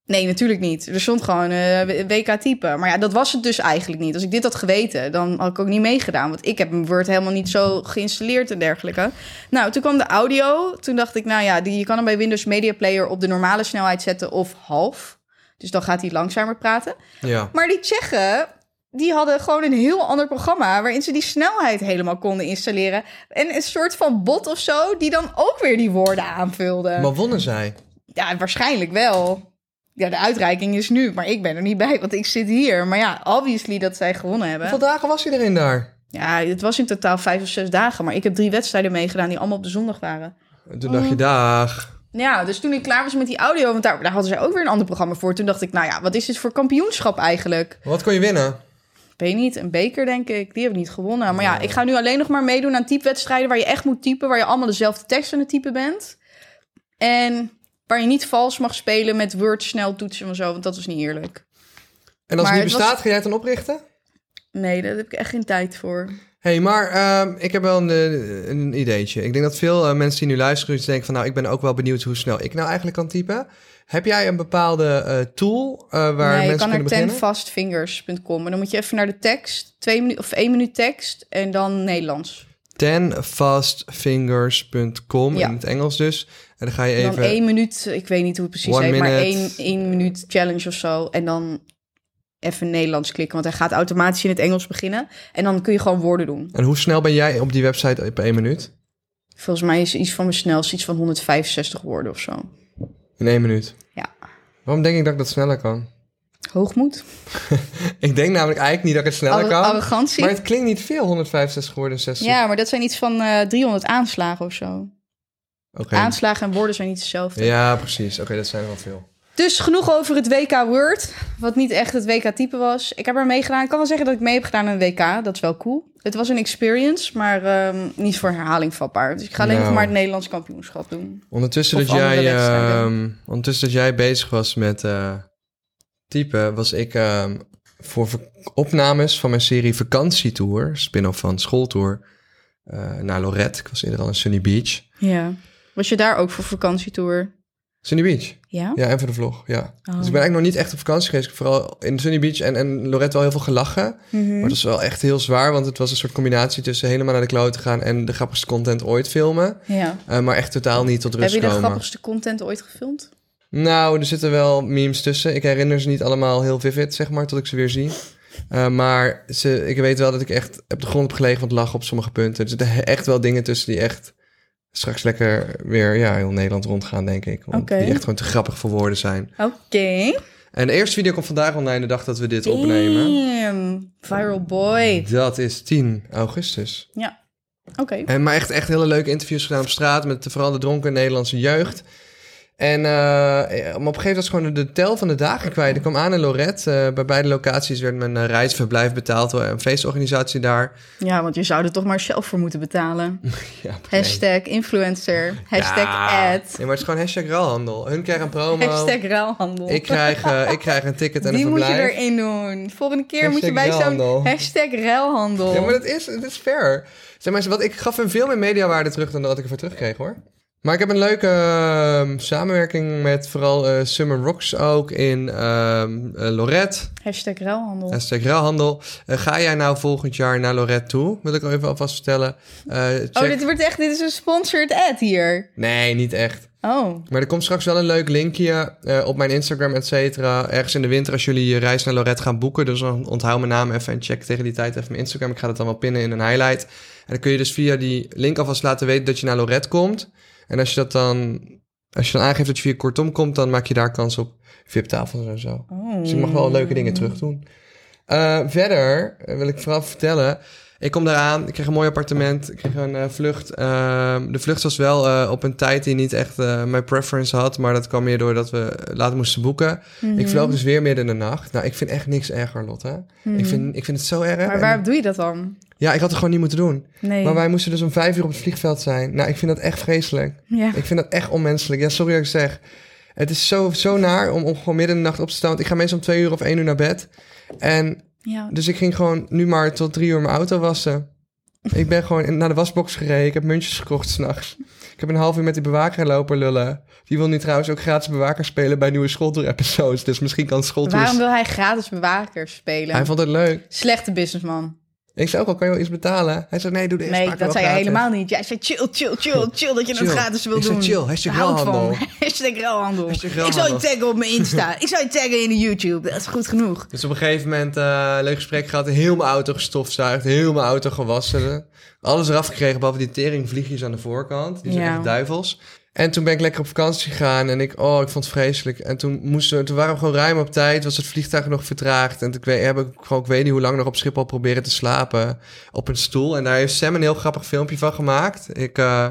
Speaker 1: Nee, natuurlijk niet. Er stond gewoon eh, WK type. Maar ja, dat was het dus eigenlijk niet. Als ik dit had geweten, dan had ik ook niet meegedaan. Want ik heb mijn Word helemaal niet zo geïnstalleerd en dergelijke. Nou, toen kwam de audio. Toen dacht ik, nou ja, die, je kan hem bij Windows Media Player op de normale snelheid zetten of half. Dus dan gaat hij langzamer praten.
Speaker 2: Ja.
Speaker 1: Maar die Tsjechen, die hadden gewoon een heel ander programma... waarin ze die snelheid helemaal konden installeren. En een soort van bot of zo, die dan ook weer die woorden aanvulde.
Speaker 2: Maar wonnen zij?
Speaker 1: Ja, waarschijnlijk wel. Ja, de uitreiking is nu, maar ik ben er niet bij, want ik zit hier. Maar ja, obviously dat zij gewonnen hebben.
Speaker 2: Hoeveel dagen was hij erin daar?
Speaker 1: Ja, het was in totaal vijf of zes dagen, maar ik heb drie wedstrijden meegedaan die allemaal op de zondag waren.
Speaker 2: En Toen dacht je, dag.
Speaker 1: Ja, dus toen ik klaar was met die audio, want daar, daar hadden zij ook weer een ander programma voor. Toen dacht ik, nou ja, wat is dit voor kampioenschap eigenlijk?
Speaker 2: Wat kon je winnen?
Speaker 1: Weet niet, een beker denk ik. Die heb ik niet gewonnen. Maar ja, ik ga nu alleen nog maar meedoen aan typewedstrijden waar je echt moet typen, waar je allemaal dezelfde tekst aan het typen bent. En waar je niet vals mag spelen met Word snel toetsen en zo, want dat is niet eerlijk.
Speaker 2: En als
Speaker 1: Maar het
Speaker 2: het niet
Speaker 1: was-
Speaker 2: bestaat, ga jij het dan oprichten?
Speaker 1: Nee, daar heb ik echt geen tijd voor.
Speaker 2: Hé, hey, maar ehm, ik heb wel een, eh, een ideetje. Ik denk dat veel eh, mensen die nu luisteren, dus denken van... nou, ik ben ook wel benieuwd hoe snel ik nou eigenlijk kan typen. Heb jij een bepaalde eh, tool eh, waar
Speaker 1: nee, je
Speaker 2: mensen
Speaker 1: kan naar
Speaker 2: kunnen beginnen?
Speaker 1: tenfastfingers.com en dan moet je even naar de tekst, twee minu- of één minuut tekst en dan Nederlands.
Speaker 2: Tenfastfingers.com,
Speaker 1: Ja.
Speaker 2: in het Engels dus. En dan ga je
Speaker 1: En
Speaker 2: even...
Speaker 1: dan één minuut, ik weet niet hoe het precies
Speaker 2: One
Speaker 1: heet, maar
Speaker 2: minute.
Speaker 1: één, één minuut challenge of zo. En dan even Nederlands klikken, want hij gaat automatisch in het Engels beginnen. En dan kun je gewoon woorden doen.
Speaker 2: En hoe snel ben jij op die website op één minuut?
Speaker 1: Volgens mij is iets van mijn snelste iets van 165 woorden of zo.
Speaker 2: In één minuut.
Speaker 1: Ja,
Speaker 2: Waarom denk ik dat ik dat sneller kan?
Speaker 1: hoogmoed,
Speaker 2: Ik denk namelijk eigenlijk niet dat ik het sneller
Speaker 1: arro-
Speaker 2: kan.
Speaker 1: arrogantie.
Speaker 2: Maar het klinkt niet veel, 165 geworden, 60.
Speaker 1: Ja, maar dat zijn iets van eh, 300 aanslagen of zo.
Speaker 2: Oké.
Speaker 1: Aanslagen en woorden zijn niet hetzelfde.
Speaker 2: Ja, precies. Oké, dat zijn er wel veel.
Speaker 1: Dus genoeg over het WK Word, wat niet echt het WK type was. Ik heb er meegedaan. Ik kan wel zeggen dat ik mee heb gedaan aan een WK. Dat is wel cool. Het was een experience, maar ehm, niet voor herhaling vatbaar. Dus ik ga alleen
Speaker 2: Nou.
Speaker 1: nog maar het Nederlands kampioenschap doen.
Speaker 2: Ondertussen
Speaker 1: Of
Speaker 2: dat,
Speaker 1: andere
Speaker 2: jij,
Speaker 1: wedstrijden.
Speaker 2: ehm, ondertussen dat jij bezig was met eh, typen, was ik ehm, voor ver- opnames van mijn serie Vakantietour, spin-off van Schooltour, eh, naar Lorette. Ik was eerder al in Sunny Beach.
Speaker 1: Ja. Was je daar ook voor vakantietour?
Speaker 2: Sunny Beach?
Speaker 1: Ja?
Speaker 2: Ja, en voor de vlog, ja.
Speaker 1: Oh.
Speaker 2: Dus ik ben eigenlijk nog niet echt op vakantie geweest. Ik heb vooral in Sunny Beach en, en Lorette wel heel veel gelachen.
Speaker 1: Mhm.
Speaker 2: Maar het was wel echt heel zwaar, want het was een soort combinatie tussen helemaal naar de kloot gaan en de grappigste content ooit filmen.
Speaker 1: ja.
Speaker 2: Eh, maar echt totaal niet tot
Speaker 1: Heb
Speaker 2: rust
Speaker 1: je de
Speaker 2: komen.
Speaker 1: grappigste content ooit gefilmd?
Speaker 2: Nou, er zitten wel memes tussen. Ik herinner ze niet allemaal heel vivid, zeg maar, tot ik ze weer zie. Eh, maar ze, ik weet wel dat ik echt op de grond heb gelegen van het lachen op sommige punten. Er zitten he- echt wel dingen tussen die echt straks lekker weer ja, heel Nederland rondgaan, denk ik. Want
Speaker 1: Oké.
Speaker 2: die echt gewoon te grappig voor woorden zijn.
Speaker 1: Oké.
Speaker 2: En de eerste video komt vandaag online, de dag dat we dit opnemen.
Speaker 1: Damn. Viral boy.
Speaker 2: Dat is 10 augustus.
Speaker 1: Ja. Oké.
Speaker 2: En maar echt, echt hele leuke interviews gedaan op straat met vooral de dronken Nederlandse jeugd. En eh, maar op een gegeven moment was ik gewoon de tel van de dagen kwijt. Ik kwam aan in Lorette. eh, bij beide locaties werd mijn eh, reisverblijf betaald door een feestorganisatie daar.
Speaker 1: Ja, want je zou er toch maar zelf voor moeten betalen.
Speaker 2: Ja,
Speaker 1: Hashtag influencer. Hashtag
Speaker 2: Ja.
Speaker 1: ad.
Speaker 2: Nee, maar het is gewoon hashtag ruilhandel. Hun krijgen een promo.
Speaker 1: Hashtag ruilhandel.
Speaker 2: Ik krijg, eh, ik krijg een ticket en
Speaker 1: Die
Speaker 2: een
Speaker 1: moet je
Speaker 2: verblijf.
Speaker 1: erin doen. Volgende keer moet je
Speaker 2: Hashtag
Speaker 1: bij zo'n
Speaker 2: ruilhandel.
Speaker 1: hashtag ruilhandel.
Speaker 2: Ja, maar dat is, dat is fair. Zeg maar, wat, ik gaf hun veel meer mediawaarde terug dan dat ik ervoor terugkreeg, hoor. Maar ik heb een leuke ehm, samenwerking met vooral eh, Summer Rocks ook in ehm eh, Lorette.
Speaker 1: Hashtag ruilhandel.
Speaker 2: Hashtag ruilhandel. Eh, ga jij nou volgend jaar naar Lorette toe? Wil ik al even alvast vertellen. Eh, check-
Speaker 1: Oh, dit wordt echt, dit is een sponsored ad hier.
Speaker 2: Nee, niet echt.
Speaker 1: Oh,
Speaker 2: Maar er komt straks wel een leuk linkje eh, op mijn Instagram, et cetera. Ergens in de winter als jullie je reis naar Lorette gaan boeken. Dus dan onthoud mijn naam even en check tegen die tijd even mijn Instagram. Ik ga dat dan wel pinnen in een highlight. En dan kun je dus via die link alvast laten weten dat je naar Lorette komt. En als je dat dan, als je dan aangeeft dat je via Kortom komt, dan maak je daar kans op VIP-tafels en zo.
Speaker 1: oh.
Speaker 2: Dus ik mag wel leuke dingen terug doen. Eh, verder eh, wil ik vooral vertellen. Ik kom daaraan, ik kreeg een mooi appartement, ik kreeg een eh, vlucht. Ehm, de vlucht was wel eh, op een tijd die niet echt eh, mijn preference had, maar dat kwam meer doordat we later moesten boeken.
Speaker 1: Mhm.
Speaker 2: Ik vloog dus weer midden in de nacht. Nou, ik vind echt niks erger, Lotte.
Speaker 1: Mhm.
Speaker 2: Ik, vind, ik vind het zo erg.
Speaker 1: Maar
Speaker 2: En-
Speaker 1: waarom doe je dat dan?
Speaker 2: Ja, ik had het gewoon niet moeten doen.
Speaker 1: Nee.
Speaker 2: Maar wij moesten dus om vijf uur op het vliegveld zijn. Nou, ik vind dat echt vreselijk.
Speaker 1: ja.
Speaker 2: Ik vind dat echt onmenselijk. Ja, sorry dat ik zeg. Het is zo, zo naar om, om gewoon midden in de nacht op te staan. Want ik ga meestal om twee uur of één uur naar bed. En
Speaker 1: ja.
Speaker 2: dus ik ging gewoon nu maar tot drie uur mijn auto wassen. Ik ben gewoon in- naar de wasbox gereden. Ik heb muntjes gekocht s'nachts. Ik heb een half uur met die bewaker lopen lullen. Die wil nu trouwens ook gratis bewaker spelen bij nieuwe schooltour-episodes. Dus misschien kan schooltours...
Speaker 1: Waarom wil hij gratis bewaker spelen?
Speaker 2: Hij vond het leuk.
Speaker 1: Slechte businessman.
Speaker 2: Ik zei ook al, kan je wel iets betalen? Hij zei, nee, doe de eerste
Speaker 1: Nee,
Speaker 2: paar
Speaker 1: dat
Speaker 2: keer
Speaker 1: zei je
Speaker 2: wel gratis.
Speaker 1: helemaal niet. Jij zei chill, chill, chill, chill dat je
Speaker 2: Chill.
Speaker 1: dat gratis wil
Speaker 2: Ik zei
Speaker 1: doen.
Speaker 2: chill, hashtag
Speaker 1: Daar hou ik
Speaker 2: ruilhandel.
Speaker 1: van. Hashtag ruilhandel.
Speaker 2: Hashtag
Speaker 1: Ik zou je
Speaker 2: ruilhandel.
Speaker 1: taggen op mijn Insta. Ik zou je taggen in de YouTube. Dat is goed genoeg.
Speaker 2: Dus op een gegeven moment eh leuk gesprek gehad. Heel mijn auto gestofzuigd. Heel mijn auto gewassen. Alles eraf gekregen, behalve die teringvliegjes aan de voorkant. Die zijn
Speaker 1: Ja.
Speaker 2: echt duivels. En toen ben ik lekker op vakantie gegaan en ik, oh, ik vond het vreselijk. En toen, moesten, we- toen waren we gewoon ruim op tijd, was het vliegtuig nog vertraagd. En ik weet, heb ik gewoon, ik weet niet hoe lang nog op Schiphol proberen te slapen op een stoel. En daar heeft Sam een heel grappig filmpje van gemaakt. Ik eh,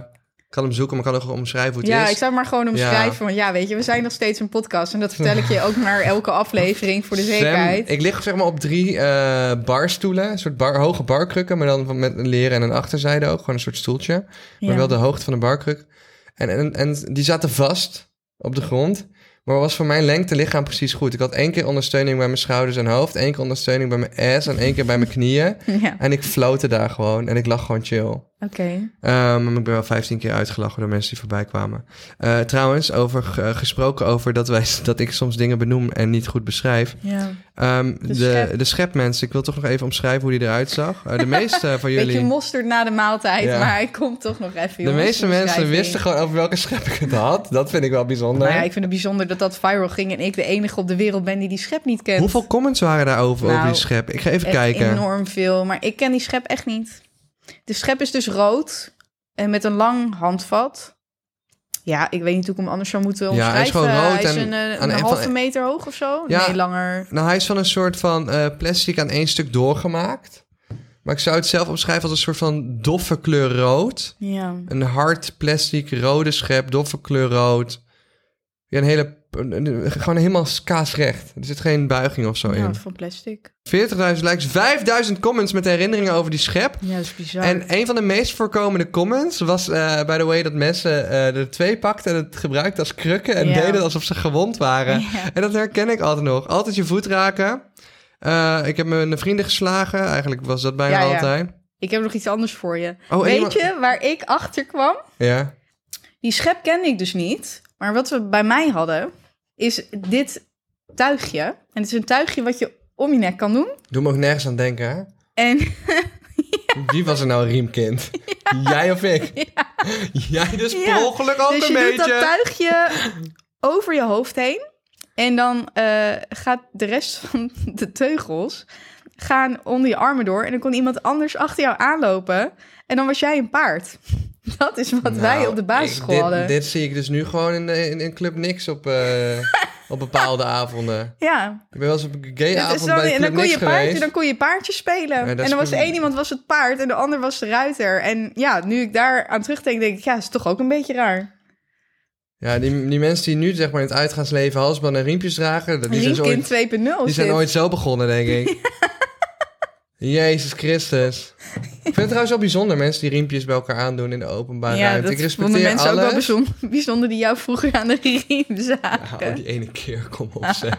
Speaker 2: kan hem zoeken, maar kan ook gewoon omschrijven hoe het
Speaker 1: Ja,
Speaker 2: is.
Speaker 1: ik zou maar gewoon omschrijven. Want ja, weet je, we zijn nog steeds een podcast. En dat vertel ik je ook naar elke aflevering voor de
Speaker 2: Sam,
Speaker 1: zekerheid.
Speaker 2: ik lig zeg maar op drie eh, barstoelen. Een soort bar, hoge barkrukken, maar dan van- met een leren en een achterzijde ook. Gewoon een soort stoeltje. Maar
Speaker 1: Ja.
Speaker 2: wel de hoogte van de barkruk. En, en, en die zaten vast op de grond. Maar was voor mijn lengte lichaam precies goed. Ik had één keer ondersteuning bij mijn schouders en hoofd. één keer ondersteuning bij mijn ass en één keer bij mijn knieën.
Speaker 1: Ja,
Speaker 2: En ik floten daar gewoon. En ik lag gewoon chill.
Speaker 1: oké.
Speaker 2: Ehm, maar ik ben wel 15 keer uitgelachen door mensen die voorbij kwamen. Eh, trouwens, over, eh, gesproken over dat, wij, dat ik soms dingen benoem en niet goed beschrijf.
Speaker 1: Ja.
Speaker 2: Ehm, de,
Speaker 1: schep.
Speaker 2: de schepmens, ik wil toch nog even omschrijven hoe die eruit zag. Eh, de meeste van
Speaker 1: Beetje
Speaker 2: jullie.
Speaker 1: mosterd na de maaltijd,
Speaker 2: Ja.
Speaker 1: maar ik kom toch nog even.
Speaker 2: De
Speaker 1: jongens,
Speaker 2: meeste mensen
Speaker 1: omschrijving.
Speaker 2: wisten gewoon over welke schep ik het had. Dat vind ik wel bijzonder.
Speaker 1: Nou ja, ik vind het bijzonder dat dat viral ging en ik de enige op de wereld ben die die schep niet kent.
Speaker 2: Hoeveel comments waren daarover over
Speaker 1: Nou,
Speaker 2: die schep? Ik ga even
Speaker 1: Echt
Speaker 2: kijken.
Speaker 1: enorm veel, maar ik ken die schep echt niet. De schep is dus rood en met een lang handvat. Ja, ik weet niet hoe ik hem anders zou moeten
Speaker 2: Ja,
Speaker 1: omschrijven.
Speaker 2: hij is gewoon rood
Speaker 1: Hij is
Speaker 2: en
Speaker 1: een, eh,
Speaker 2: aan
Speaker 1: een
Speaker 2: een
Speaker 1: halve
Speaker 2: van-
Speaker 1: meter hoog of zo.
Speaker 2: Ja.
Speaker 1: Nee, langer.
Speaker 2: Nou, hij is van een soort van eh, plastic aan één stuk doorgemaakt. Maar ik zou het zelf omschrijven als een soort van doffe kleur rood.
Speaker 1: Ja.
Speaker 2: Een hard plastic rode schep, doffe kleur rood. Ja, een hele. Gewoon helemaal kaasrecht. Er zit geen buiging of zo
Speaker 1: Nou,
Speaker 2: in.
Speaker 1: van plastic.
Speaker 2: 40.000 likes, 5000 comments met herinneringen over die schep.
Speaker 1: Ja, dat is bizar.
Speaker 2: En een van de meest voorkomende comments was, eh by the way, dat mensen eh, er twee pakten en het gebruikten als krukken en
Speaker 1: Ja.
Speaker 2: deden alsof ze gewond waren.
Speaker 1: Ja.
Speaker 2: En dat herken ik altijd nog. Altijd je voet raken. Eh, ik heb mijn vrienden geslagen. Eigenlijk was dat bijna
Speaker 1: Ja, ja.
Speaker 2: altijd.
Speaker 1: Ik heb nog iets anders voor je.
Speaker 2: Oh,
Speaker 1: weet
Speaker 2: eenmaal-
Speaker 1: je waar ik achter kwam?
Speaker 2: Ja.
Speaker 1: Die schep kende ik dus niet. Maar wat we bij mij hadden, is dit tuigje. En het is een tuigje wat je om je nek kan doen.
Speaker 2: Doe me ook nergens aan denken, hè?
Speaker 1: En
Speaker 2: Wie was er nou een riemkind? Jij of ik? Jij dus
Speaker 1: Ja.
Speaker 2: per ongeluk ook
Speaker 1: dus
Speaker 2: een
Speaker 1: je doet dat
Speaker 2: beetje.
Speaker 1: tuigje over je hoofd heen. En dan eh, gaat de rest van de teugels gaan onder je armen door. En dan kon iemand anders achter jou aanlopen. En dan was jij een paard. Dat is wat wij
Speaker 2: Nou,
Speaker 1: op de
Speaker 2: ik-
Speaker 1: basisschool
Speaker 2: dit-
Speaker 1: hadden.
Speaker 2: Dit, zie ik dus nu gewoon in, in, in Club Niks op, eh, op bepaalde avonden.
Speaker 1: Ja,
Speaker 2: Ik ben wel eens op een gay
Speaker 1: Dus
Speaker 2: avond
Speaker 1: dan,
Speaker 2: bij
Speaker 1: en dan
Speaker 2: Club
Speaker 1: kon,
Speaker 2: Niks
Speaker 1: je paardje,
Speaker 2: geweest.
Speaker 1: dan kon je paardje spelen.
Speaker 2: dat
Speaker 1: en
Speaker 2: is
Speaker 1: dan was de
Speaker 2: prima.
Speaker 1: een iemand was het paard en de ander was de ruiter. En ja, nu ik daar aan terugdenk, denk ik, ja, is toch ook een beetje raar.
Speaker 2: Ja, die, die mensen die nu zeg maar in het uitgaansleven halsband en riempjes dragen, dat- die zijn, zo
Speaker 1: Riemkind
Speaker 2: dus ooit,
Speaker 1: 2.0
Speaker 2: die
Speaker 1: is
Speaker 2: zijn
Speaker 1: dit.
Speaker 2: ooit zo begonnen, denk ik. Jezus Christus. Ik vind het trouwens wel bijzonder, mensen die riempjes bij elkaar aandoen in de openbare
Speaker 1: ja,
Speaker 2: ruimte.
Speaker 1: dat
Speaker 2: eh, ik
Speaker 1: vonden
Speaker 2: respecteer
Speaker 1: mensen
Speaker 2: alles.
Speaker 1: ook wel bijzonder, bijzonder die jou vroeger aan de riem zagen.
Speaker 2: Ja, oh, die ene keer, kom op zeg.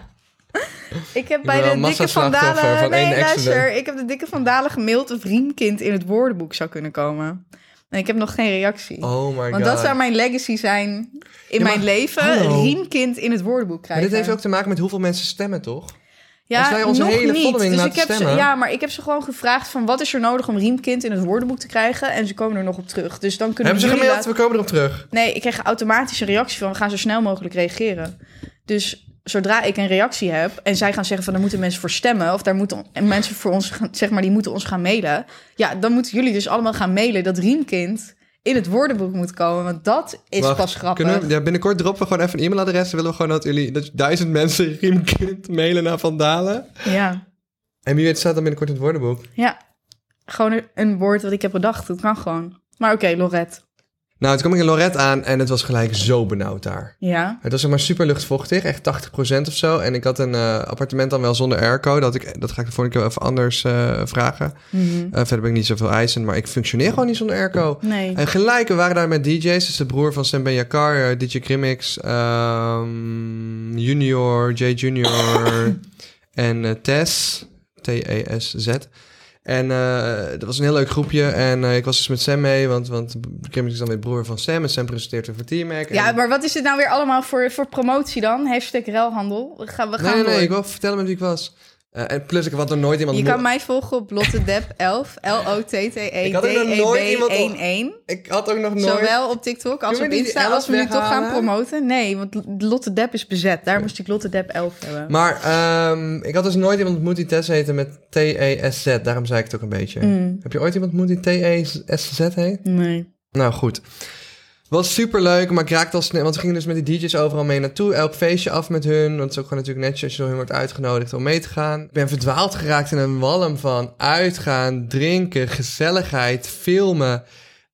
Speaker 1: ik heb
Speaker 2: Nou,
Speaker 1: bij
Speaker 2: ik ben wel een
Speaker 1: de dikke
Speaker 2: massaslachtoffer
Speaker 1: vandalen...
Speaker 2: van
Speaker 1: nee,
Speaker 2: één
Speaker 1: luister,
Speaker 2: accident.
Speaker 1: ik heb de dikke vandalen gemaild of riemkind in het woordenboek zou kunnen komen. En ik heb nog geen reactie.
Speaker 2: Oh my god.
Speaker 1: Want dat zou mijn legacy zijn in
Speaker 2: maar-
Speaker 1: mijn leven.
Speaker 2: hallo.
Speaker 1: Riemkind in het woordenboek
Speaker 2: Maar
Speaker 1: krijgen.
Speaker 2: dit heeft ook te maken met hoeveel mensen stemmen, toch?
Speaker 1: ja,
Speaker 2: als wij onze
Speaker 1: nog
Speaker 2: hele
Speaker 1: niet.
Speaker 2: following
Speaker 1: dus
Speaker 2: laten
Speaker 1: ik heb
Speaker 2: stemmen-
Speaker 1: Ze, ja, maar ik heb ze gewoon gevraagd van wat is er nodig om Riemkind in het woordenboek te krijgen. En ze komen er nog op terug. Dus dan kunnen
Speaker 2: Hebben ze
Speaker 1: jullie
Speaker 2: gemaild?
Speaker 1: laten-
Speaker 2: We komen erop terug.
Speaker 1: Nee, ik kreeg automatisch een reactie van we gaan zo snel mogelijk reageren. Dus zodra ik een reactie heb en zij gaan zeggen van daar moeten mensen voor stemmen of daar moeten on- en mensen voor ons gaan, zeg maar die moeten ons gaan mailen. Ja, dan moeten jullie dus allemaal gaan mailen dat Riemkind in het woordenboek moet komen, want dat is
Speaker 2: Wacht,
Speaker 1: pas grappig.
Speaker 2: Kunnen we, ja, binnenkort droppen we gewoon even een e-mailadres. Dan willen we gewoon dat jullie dat duizend mensen riemkind mailen naar Vandalen.
Speaker 1: Ja.
Speaker 2: En wie weet staat dan binnenkort in het woordenboek.
Speaker 1: Ja. Gewoon een- een woord wat ik heb bedacht. Dat kan gewoon. Maar oké, Lorette.
Speaker 2: Nou, toen kwam ik in Lorette aan en het was gelijk zo benauwd daar.
Speaker 1: Ja.
Speaker 2: Het was zeg maar super luchtvochtig, echt 80% of zo. En ik had een eh, appartement dan wel zonder airco. Dat, ik, dat ga ik de volgende keer wel even anders eh, vragen.
Speaker 1: Mhm.
Speaker 2: Eh, verder ben ik niet zoveel eisen, maar ik functioneer gewoon niet zonder airco.
Speaker 1: Nee.
Speaker 2: En gelijk, we waren daar met DJ's. Dus de broer van Sam Ben Yakar, eh, DJ Grimmix, ehm, Junior, J Junior en eh, Tess. T-E-S-Z. En eh, dat was een heel leuk groepje. En eh, ik was dus met Sam mee, want, want Grimmix is dan weer broer van Sam. En Sam presenteert weer voor T-Mac.
Speaker 1: Ja,
Speaker 2: en...
Speaker 1: maar wat is dit nou weer allemaal voor, voor promotie dan? Hashtag ruilhandel. We gaan, we gaan
Speaker 2: Nee, nee,
Speaker 1: door.
Speaker 2: nee, ik wil vertellen met wie ik was. Eh, en plus, ik had er nooit iemand...
Speaker 1: Je
Speaker 2: mo-
Speaker 1: kan mij volgen op lottedep11, L-O-T-T-E,
Speaker 2: Ik had ook nog nooit iemand op-
Speaker 1: D-E-B-11.
Speaker 2: Ik had ook nog nooit...
Speaker 1: Zowel op TikTok als
Speaker 2: Kunnen we
Speaker 1: op
Speaker 2: die
Speaker 1: Insta,
Speaker 2: 11
Speaker 1: als we nu toch gaan
Speaker 2: weghalen?
Speaker 1: promoten. Nee, want Lotte Depp is bezet. Daar moest ik Lotte Depp 11 hebben.
Speaker 2: Maar ehm, ik had dus nooit iemand ontmoet die Tess heette met T-E-S-Z. Daarom zei ik het ook een beetje.
Speaker 1: Mm.
Speaker 2: Heb je ooit iemand ontmoet die T-E-S-Z heet?
Speaker 1: Nee.
Speaker 2: Nou goed. Was super leuk, maar ik raakte al snel. Want we gingen dus met die DJ's overal mee naartoe. Elk feestje af met hun. Want het is ook gewoon natuurlijk netjes als je door hun wordt uitgenodigd om mee te gaan. Ik ben verdwaald geraakt in een walm van uitgaan, drinken, gezelligheid, filmen.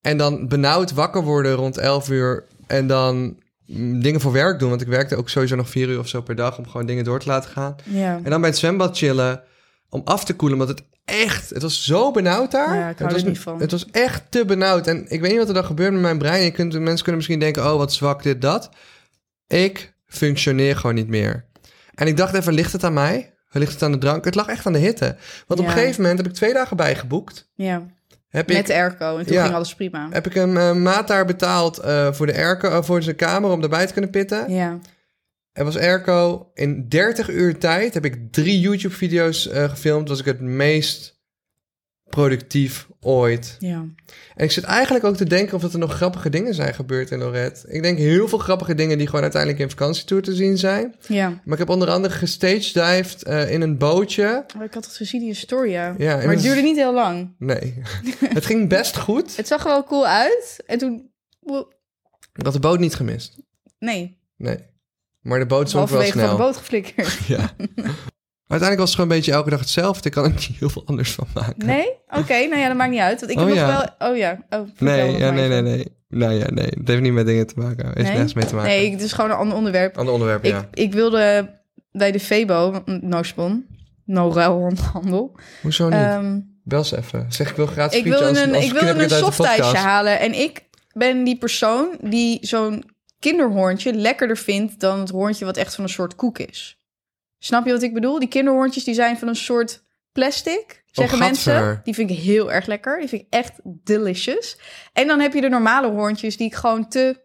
Speaker 2: En dan benauwd wakker worden rond 11 uur. En dan mm, dingen voor werk doen. Want ik werkte ook sowieso nog 4 uur of zo per dag om gewoon dingen door te laten gaan.
Speaker 1: Ja.
Speaker 2: En dan bij het zwembad chillen om af te koelen. Want het echt, het was zo benauwd daar.
Speaker 1: Ja, ik hou
Speaker 2: het was,
Speaker 1: er niet van.
Speaker 2: Het was echt te benauwd. En ik weet niet wat er dan gebeurt met mijn brein. Je kunt, mensen kunnen misschien denken, oh wat zwak dit, dat. Ik functioneer gewoon niet meer. En ik dacht even, ligt het aan mij? Ligt het aan de drank? Het lag echt aan de hitte. Want op
Speaker 1: Ja.
Speaker 2: een gegeven moment heb ik twee dagen bijgeboekt.
Speaker 1: ja.
Speaker 2: Heb ik,
Speaker 1: Met de airco. En toen
Speaker 2: Ja.
Speaker 1: ging alles prima.
Speaker 2: heb ik een eh, maat daar betaald eh, voor, de airco, eh, voor zijn kamer om daarbij te kunnen pitten.
Speaker 1: Ja.
Speaker 2: Er was airco. In 30 uur tijd heb ik drie YouTube-video's eh, gefilmd. Was ik het meest productief ooit.
Speaker 1: Ja.
Speaker 2: En ik zit eigenlijk ook te denken of dat er nog grappige dingen zijn gebeurd in Lorette. Ik denk heel veel grappige dingen die gewoon uiteindelijk in vakantietour te zien zijn.
Speaker 1: Ja.
Speaker 2: Maar ik heb onder andere gestagedived eh in een bootje.
Speaker 1: Oh, ik had het gezien in je story, ja.
Speaker 2: Ja, en
Speaker 1: maar het
Speaker 2: dat-
Speaker 1: duurde niet heel lang.
Speaker 2: Nee, het ging best goed.
Speaker 1: Het zag er wel cool uit. En toen...
Speaker 2: Ik had de boot niet gemist.
Speaker 1: Nee,
Speaker 2: Nee. Maar de boot zonk wel
Speaker 1: halverwege van de
Speaker 2: snel.
Speaker 1: boot geflikkerd.
Speaker 2: Ja. Maar uiteindelijk was het gewoon een beetje elke dag hetzelfde. Ik kan er niet heel veel anders van maken.
Speaker 1: Nee? Oké, nou ja, dat maakt niet uit. Want ik
Speaker 2: Oh,
Speaker 1: heb nog
Speaker 2: ja.
Speaker 1: wel... Oh ja. Oh, vertel
Speaker 2: Nee,
Speaker 1: nog
Speaker 2: ja,
Speaker 1: maar
Speaker 2: nee, nee,
Speaker 1: even.
Speaker 2: nee. Nou ja, nee. Het heeft niet met dingen te maken. Het heeft
Speaker 1: Nee?
Speaker 2: nergens mee te maken.
Speaker 1: Nee, het is gewoon een ander onderwerp.
Speaker 2: Ander onderwerp,
Speaker 1: Ik,
Speaker 2: ja.
Speaker 1: ik wilde bij de Febo, no spon, no ruilhandel.
Speaker 2: Hoezo Oh, niet?
Speaker 1: Ehm,
Speaker 2: Bel ze even. Zeg, ik wil gratis
Speaker 1: ik
Speaker 2: frietje
Speaker 1: wilde
Speaker 2: als-
Speaker 1: een,
Speaker 2: als
Speaker 1: ik wilde
Speaker 2: knip
Speaker 1: een
Speaker 2: het uit de
Speaker 1: softijsje
Speaker 2: podcast.
Speaker 1: halen. En ik ben die persoon die zo'n kinderhoorntje lekkerder vindt dan het hoorntje wat echt van een soort koek is. Snap je wat ik bedoel? Die kinderhoorntjes die zijn van een soort plastic, zeggen mensen.
Speaker 2: Oh, gadver.
Speaker 1: Die vind ik heel erg lekker. Die vind ik echt delicious. En dan heb je de normale hoorntjes die ik gewoon te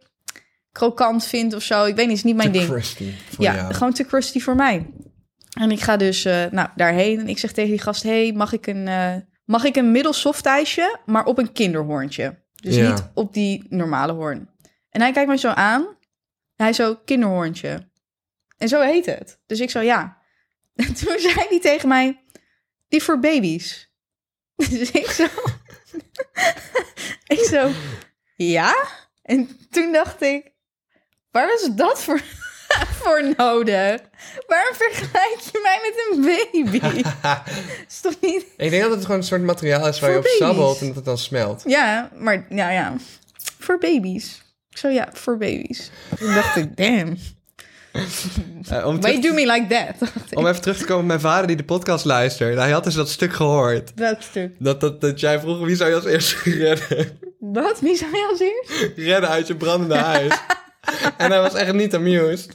Speaker 1: krokant vind of zo. Ik weet niet, het is niet mijn
Speaker 2: Te
Speaker 1: ding.
Speaker 2: crusty voor
Speaker 1: Ja,
Speaker 2: jou.
Speaker 1: gewoon te crusty voor mij. En ik ga dus eh, nou, daarheen en ik zeg tegen die gast... hey, mag ik een, eh mag ik een middelsoft ijsje, maar op een kinderhoorntje? Dus
Speaker 2: Ja.
Speaker 1: niet op die normale hoorn. En hij kijkt mij zo aan. En hij zo, kinderhoorntje. En zo heet het. Dus ik zo, ja. En toen zei hij tegen mij, die voor baby's. Dus ik zo... ik zo, ja? En toen dacht ik, waar was dat voor, voor nodig? Waarom vergelijk je mij met een baby? is toch niet...
Speaker 2: Ik denk dat het gewoon een soort materiaal is waar je
Speaker 1: Voor
Speaker 2: op
Speaker 1: baby's.
Speaker 2: sabbelt en dat het dan smelt.
Speaker 1: Ja, maar nou ja, voor baby's. Ik zo, ja, voor baby's. Toen dacht ik, damn,
Speaker 2: Eh, om,
Speaker 1: why you
Speaker 2: terug-
Speaker 1: do me like that? Dacht ik.
Speaker 2: om even terug te komen op mijn vader die de podcast luistert. Hij had dus dat stuk gehoord.
Speaker 1: Welk stuk?
Speaker 2: Dat, dat, dat jij vroeg wie zou je als eerste redden?
Speaker 1: Wat? Wie zei als eerst?
Speaker 2: redden uit je brandende huis. en hij was echt niet amused.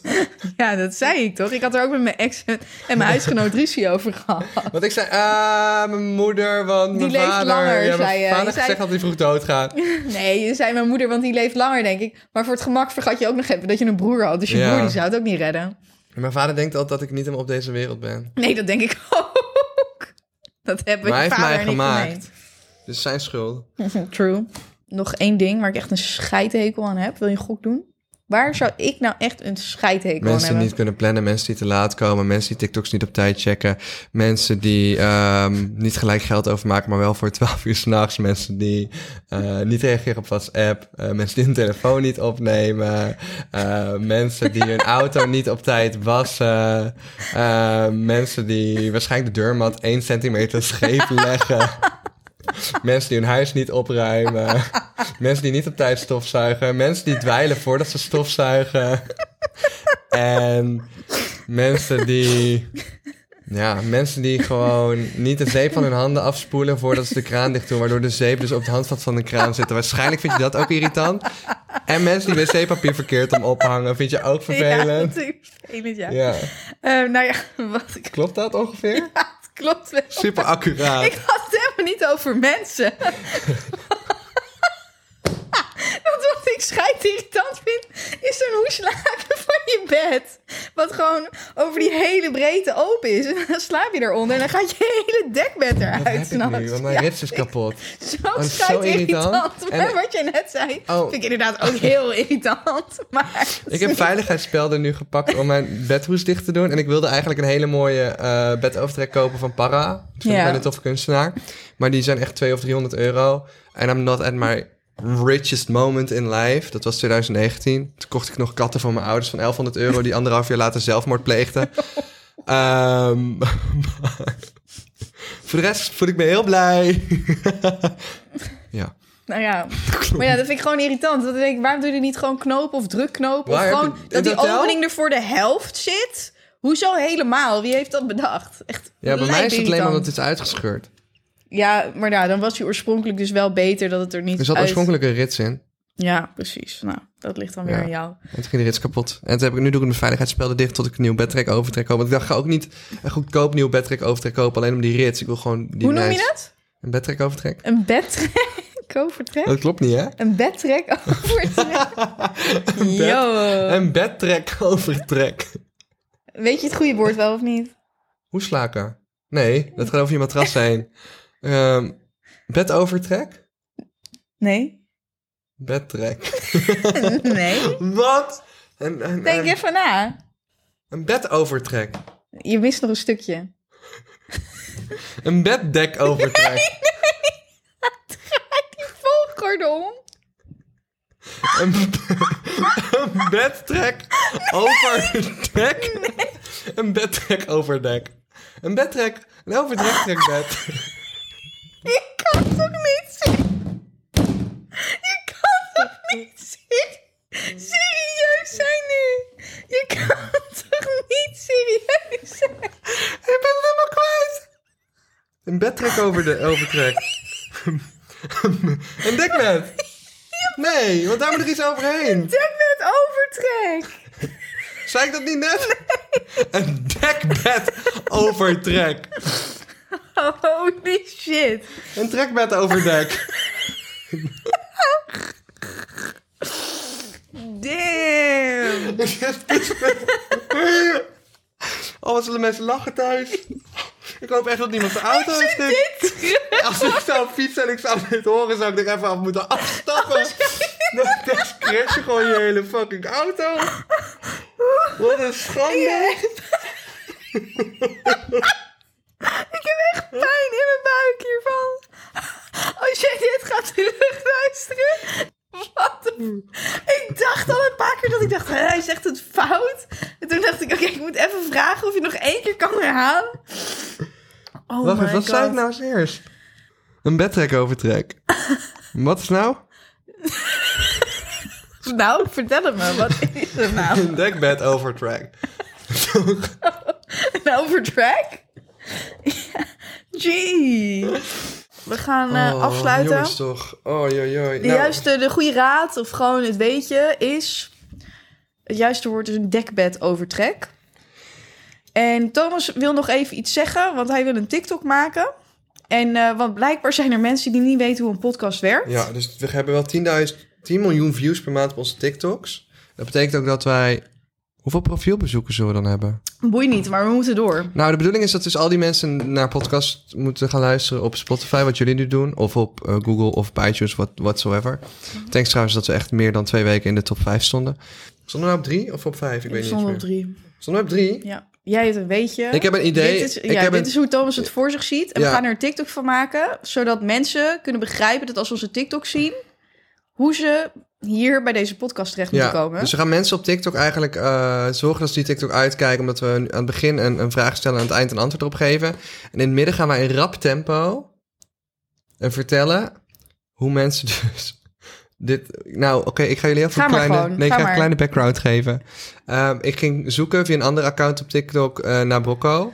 Speaker 1: Ja, dat zei ik toch? Ik had er ook met mijn ex en mijn huisgenoot ruzie over gehad.
Speaker 2: Want ik zei, ah, mijn moeder, want mijn
Speaker 1: leeft
Speaker 2: vader...
Speaker 1: langer,
Speaker 2: ja, mijn
Speaker 1: zei je. Je
Speaker 2: vader
Speaker 1: zei-
Speaker 2: gezegd dat hij vroeg doodgaat.
Speaker 1: Nee, je zei mijn moeder, want die leeft langer, denk ik. Maar voor het gemak vergat je ook nog even dat je een broer had. Dus je
Speaker 2: Ja.
Speaker 1: broer die zou het ook niet redden.
Speaker 2: Mijn vader denkt altijd dat ik niet helemaal op deze wereld ben.
Speaker 1: Nee, dat denk ik ook. Dat hebben
Speaker 2: Maar hij
Speaker 1: je
Speaker 2: heeft
Speaker 1: vader
Speaker 2: mij
Speaker 1: en ik
Speaker 2: gemaakt. Dus zijn schuld.
Speaker 1: gemeen. True. Nog één ding waar ik echt een scheidhekel aan heb. Wil je een gok doen? Waar zou ik nou echt een scheidhekel aan
Speaker 2: Mensen die
Speaker 1: hebben?
Speaker 2: niet kunnen plannen, mensen die te laat komen, mensen die TikToks niet op tijd checken, mensen die ehm, niet gelijk geld overmaken, maar wel voor 12 uur s'nachts, mensen die eh, niet reageren op WhatsApp, eh, mensen die hun telefoon niet opnemen, eh, mensen die hun auto niet op tijd wassen, eh, mensen die waarschijnlijk de deurmat 1 centimeter scheef leggen. Mensen die hun huis niet opruimen. mensen die niet op tijd stofzuigen. Mensen die dweilen voordat ze stofzuigen. En mensen die. Ja, mensen die gewoon niet de zeep van hun handen afspoelen voordat ze de kraan dicht doen, waardoor de zeep dus op het handvat van de kraan zit. Waarschijnlijk vind je dat ook irritant. En mensen die wc-papier verkeerd om ophangen, vind je ook
Speaker 1: Ja,
Speaker 2: vervelend.
Speaker 1: natuurlijk. Vervelend, ja.
Speaker 2: Ja,
Speaker 1: Eh, nou ja, wat ik...
Speaker 2: klopt dat ongeveer?
Speaker 1: Ja, het klopt wel.
Speaker 2: Super accuraat.
Speaker 1: Ik had het helemaal niet over mensen. Want wat ik schijt irritant vind, is zo'n hoeslaken van je bed. Wat gewoon over die hele breedte open is. En dan slaap je eronder en dan gaat je hele dekbed
Speaker 2: Dat heb
Speaker 1: eruit.
Speaker 2: ik nu, want mijn rits is kapot.
Speaker 1: Zo
Speaker 2: Oh, is zo
Speaker 1: schijt irritant.
Speaker 2: irritant.
Speaker 1: Maar
Speaker 2: En-
Speaker 1: wat je net zei,
Speaker 2: Oh.
Speaker 1: vind ik inderdaad ook heel irritant. Maar
Speaker 2: Ik heb veiligheidsspelden nu gepakt om mijn bedhoes dicht te doen. En ik wilde eigenlijk een hele mooie eh bedovertrek kopen van Para. Dat vind
Speaker 1: Ja.
Speaker 2: ik wel een toffe kunstenaar. Maar die zijn echt 200 of 300 euro. En I'm not at my richest moment in life. Dat was 2019. Toen kocht ik nog katten voor mijn ouders van 1100 euro... die anderhalf jaar later zelfmoord pleegden. Ehm, maar voor de rest voel ik me heel blij. ja.
Speaker 1: Nou ja, maar ja, dat vind ik gewoon irritant. Dat ik denk, waarom doe je niet gewoon knopen of drukknopen? Of
Speaker 2: Waar heb
Speaker 1: gewoon
Speaker 2: je- in
Speaker 1: dat die
Speaker 2: het hotel?
Speaker 1: opening er voor de helft zit? Hoezo helemaal? Wie heeft dat bedacht? Echt
Speaker 2: ja, bij mij is het alleen
Speaker 1: lijpirritant.
Speaker 2: omdat het is uitgescheurd.
Speaker 1: Ja, maar nou, dan was hij oorspronkelijk dus wel beter dat het er niet
Speaker 2: Er zat
Speaker 1: uit...
Speaker 2: oorspronkelijk een rits in.
Speaker 1: Ja, precies. Nou, dat ligt dan weer
Speaker 2: Ja.
Speaker 1: aan jou.
Speaker 2: En toen ging de rits kapot. En toen heb ik nu doe ik mijn veiligheidsspelden dicht tot ik een nieuw bedtrek overtrek koop. Want ik dacht, ga ook niet een goedkoop nieuw bedtrek overtrek kopen. Alleen om die rits. Ik wil gewoon die
Speaker 1: Hoe noem je
Speaker 2: nice-
Speaker 1: dat?
Speaker 2: Een bedtrek overtrek. Oh,
Speaker 1: Een bedtrek overtrek?
Speaker 2: Dat klopt niet, hè?
Speaker 1: Een bedtrek overtrek?
Speaker 2: bed-
Speaker 1: Yo.
Speaker 2: Een bedtrek overtrek.
Speaker 1: Weet je het goede woord wel of niet?
Speaker 2: Hoe slaken? Nee, dat gaat over je matras heen. Ehm bed overtrek?
Speaker 1: Nee?
Speaker 2: Bedtrek.
Speaker 1: Nee?
Speaker 2: Wat? Een, een,
Speaker 1: Denk
Speaker 2: een,
Speaker 1: even na.
Speaker 2: een bed overtrek.
Speaker 1: Je mist nog een stukje.
Speaker 2: Een beddek overtrek.
Speaker 1: Draai die volgorde om.
Speaker 2: Een, een bedtrek overdek. Een bedtrek overdek. Een bedtrek. Een overdek trekbed.
Speaker 1: Ik kan toch niet zien? Je kan toch niet zien? Serieus zijn nu? Je kan toch niet serieus zijn?
Speaker 2: Ik ben het helemaal kwijt. Een bedtrek over de overtrek. een dekbed. Nee, want daar moet er iets overheen.
Speaker 1: Dekbed overtrek.
Speaker 2: Zei ik dat niet net? Een dekbed overtrek.
Speaker 1: Holy shit.
Speaker 2: Een trekbed overdek.
Speaker 1: Damn.
Speaker 2: Oh, wat zullen mensen lachen thuis. Ik hoop echt dat niemand zijn auto is stuk.
Speaker 1: Dit terug.
Speaker 2: Als ik zou fietsen en ik zou dit horen, zou ik er even af moeten
Speaker 1: Oh,
Speaker 2: afstappen. Dan dan crash je gewoon je hele fucking auto. Wat een schande.
Speaker 1: Ik heb echt pijn in mijn buik hiervan. Als jij dit gaat terugluisteren. Wat de- Ik dacht al een paar keer dat ik dacht, hè, hij zegt het fout. En toen dacht ik, oké, ik moet even vragen of je nog één keer kan herhalen. Oh
Speaker 2: Wacht
Speaker 1: my
Speaker 2: even, wat
Speaker 1: God.
Speaker 2: zei ik nou als eerst? Een bedtrek overtrek. Wat is nou?
Speaker 1: Nou, vertel het me. Wat is het nou?
Speaker 2: Een dekbed overtrek.
Speaker 1: Een overtrack? Ja. Gee. We gaan eh, afsluiten.
Speaker 2: Oh, Jongens toch. Oh, joi, joi.
Speaker 1: De juiste, de goede raad, of gewoon het weetje, is... het juiste woord is een dekbed overtrek. En Thomas wil nog even iets zeggen, want hij wil een TikTok maken. En eh, want blijkbaar zijn er mensen die niet weten hoe een podcast werkt.
Speaker 2: Ja, dus we hebben wel 10.000, 10 miljoen views per maand op onze TikToks. Dat betekent ook dat wij... Hoeveel profielbezoekers zullen we dan hebben?
Speaker 1: Boeit niet, maar we moeten door.
Speaker 2: Nou, de bedoeling is dat dus al die mensen naar podcast moeten gaan luisteren op Spotify, wat jullie nu doen. Of op eh, Google of op iTunes, what, whatsoever.
Speaker 1: Mhm.
Speaker 2: Thanks trouwens dat we echt meer dan twee weken in de top 5 stonden. Stonden we nou op drie of op vijf? Ik weet niet eens
Speaker 1: Zonder
Speaker 2: meer.
Speaker 1: op drie.
Speaker 2: Stonden we op drie?
Speaker 1: Ja. Jij hebt een weetje.
Speaker 2: Ik heb een idee.
Speaker 1: Dit is,
Speaker 2: Ik
Speaker 1: ja,
Speaker 2: heb
Speaker 1: dit
Speaker 2: een-
Speaker 1: is hoe Thomas het voor zich ziet. En
Speaker 2: Ja.
Speaker 1: we gaan er een TikTok van maken, zodat mensen kunnen begrijpen dat als ze onze TikTok zien, hoe ze hier bij deze podcast terecht moeten komen.
Speaker 2: Dus we gaan mensen op TikTok eigenlijk eh, zorgen dat ze die TikTok uitkijken. Omdat we aan het begin een, een vraag stellen en aan het eind een antwoord erop geven. En in het midden gaan wij in rap tempo en vertellen hoe mensen dus dit... Nou, oké, ik ga jullie heel veel
Speaker 1: Ga maar
Speaker 2: kleine...
Speaker 1: gewoon,
Speaker 2: nee, ik
Speaker 1: ga
Speaker 2: ga een
Speaker 1: maar.
Speaker 2: kleine background geven. Ehm, ik ging zoeken via een andere account op TikTok eh, naar Brocco.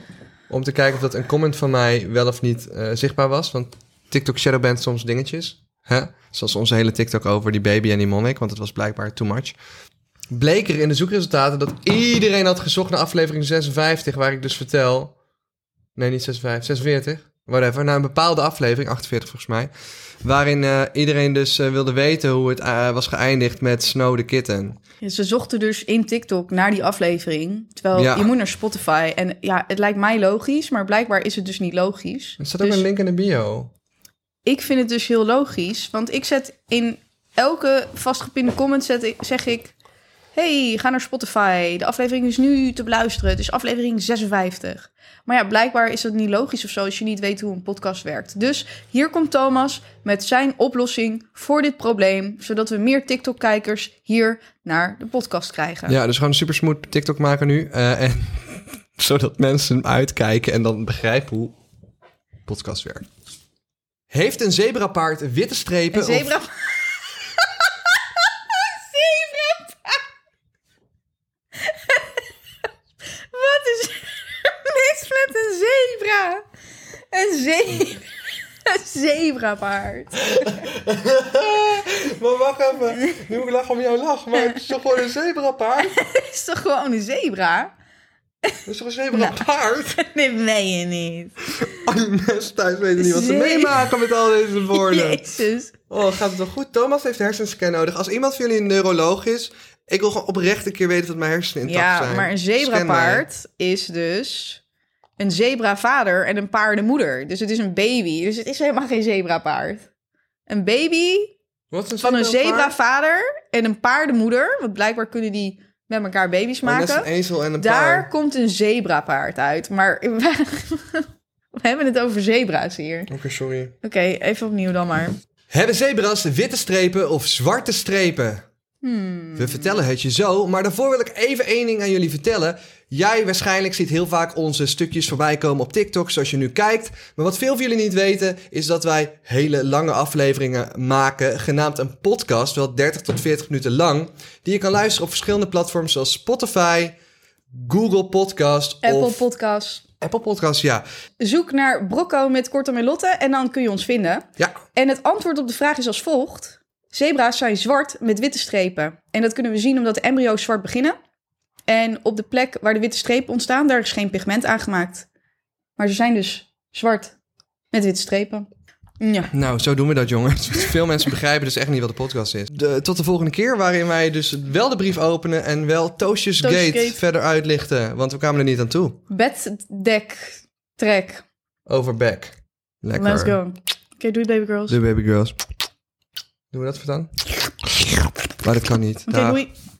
Speaker 2: Om te kijken of dat een comment van mij wel of niet eh, zichtbaar was. Want TikTok shadowband soms dingetjes. Hè? Zoals onze hele TikTok over die baby en die monnik. Want het was blijkbaar too much. Bleek er in de zoekresultaten dat iedereen had gezocht naar aflevering 56. Waar ik dus vertel... Nee, niet 56. 46. Whatever. Naar een bepaalde aflevering. 48 volgens mij. Waarin eh, iedereen dus eh, wilde weten hoe het eh, was geëindigd met Snow the Kitten.
Speaker 1: Ja, Ze zochten dus in TikTok naar die aflevering. Terwijl
Speaker 2: Ja.
Speaker 1: je moet naar Spotify. En ja, het lijkt mij logisch, maar blijkbaar is het dus niet logisch.
Speaker 2: Er staat ook
Speaker 1: Dus
Speaker 2: een link in de bio.
Speaker 1: Ik vind het dus heel logisch. Want ik zet in elke vastgepinde comment zet ik, zeg ik... Hey, ga naar Spotify. De aflevering is nu te beluisteren. Het is aflevering 56. Maar ja, blijkbaar is dat niet logisch of zo... als je niet weet hoe een podcast werkt. Dus hier komt Thomas met zijn oplossing voor dit probleem... zodat we meer TikTok-kijkers hier naar de podcast krijgen.
Speaker 2: Ja, dus gewoon een super smooth TikTok maken nu. eh, en, zodat mensen hem uitkijken en dan begrijpen hoe podcast werkt. Heeft een zebrapaard witte strepen?
Speaker 1: Een zebra...
Speaker 2: Of,
Speaker 1: zebra... Wat is er mis met een zebra? Een zebra... Een zebrapaard.
Speaker 2: maar wacht even. Nu moet ik lachen om jouw lach. Maar het is toch gewoon een zebrapaard?
Speaker 1: Het is toch gewoon een zebra?
Speaker 2: Het is toch een zebrapaard?
Speaker 1: Nee, meen je niet.
Speaker 2: Al die mensen thuis weten niet wat ze
Speaker 1: Zebra.
Speaker 2: meemaken met al deze woorden.
Speaker 1: Jezus.
Speaker 2: Oh, gaat het wel goed? Thomas heeft hersenscan nodig. Als iemand van jullie een neuroloog is... Ik wil gewoon oprecht een keer weten dat mijn hersenen intact zijn.
Speaker 1: Ja, maar een
Speaker 2: Scan mij.
Speaker 1: zebrapaard is dus een zebravader en een paardenmoeder. Dus het is een baby. Dus het is helemaal geen zebrapaard. Een baby
Speaker 2: Wat is
Speaker 1: van een
Speaker 2: zebrapaard?
Speaker 1: zebravader en een paardenmoeder. Want blijkbaar kunnen die met elkaar baby's
Speaker 2: Oh, net als
Speaker 1: maken.
Speaker 2: een ezel en een
Speaker 1: Daar
Speaker 2: paard.
Speaker 1: komt een zebrapaard uit. Maar we hebben het over zebra's hier. Oké,
Speaker 2: Oké, sorry.
Speaker 1: even opnieuw dan maar.
Speaker 2: Hebben zebra's witte strepen of zwarte strepen? We vertellen het je zo, maar daarvoor wil ik even één ding aan jullie vertellen. Jij waarschijnlijk ziet heel vaak onze stukjes voorbij komen op TikTok, zoals je nu kijkt. Maar wat veel van jullie niet weten, is dat wij hele lange afleveringen maken, genaamd een podcast, wel 30 tot 40 minuten lang, die je kan luisteren op verschillende platforms zoals Spotify, Google Podcast
Speaker 1: Apple
Speaker 2: of
Speaker 1: Podcast.
Speaker 2: Apple Podcast, ja.
Speaker 1: Zoek naar Brocco met Kortom en Lotte en dan kun je ons vinden.
Speaker 2: Ja,
Speaker 1: En het antwoord op de vraag is als volgt. Zebra's zijn zwart met witte strepen. En dat kunnen we zien omdat de embryo's zwart beginnen. En op de plek waar de witte strepen ontstaan, daar is geen pigment aangemaakt. Maar ze zijn dus zwart met witte strepen. Ja.
Speaker 2: Nou, zo doen we dat, jongens. Veel mensen begrijpen dus echt niet wat de podcast is. De- tot de volgende keer, waarin wij dus wel de brief openen en wel Toastjes
Speaker 1: Toastjes
Speaker 2: Gate
Speaker 1: Gate.
Speaker 2: verder uitlichten. Want we kwamen er niet aan toe.
Speaker 1: Beddek, trek.
Speaker 2: Over back. Lekker.
Speaker 1: Let's go. Oké, doei baby girls.
Speaker 2: De baby girls. Doen we dat voor dan? Maar dat kan niet.
Speaker 1: Oké,
Speaker 2: Dag.
Speaker 1: doei.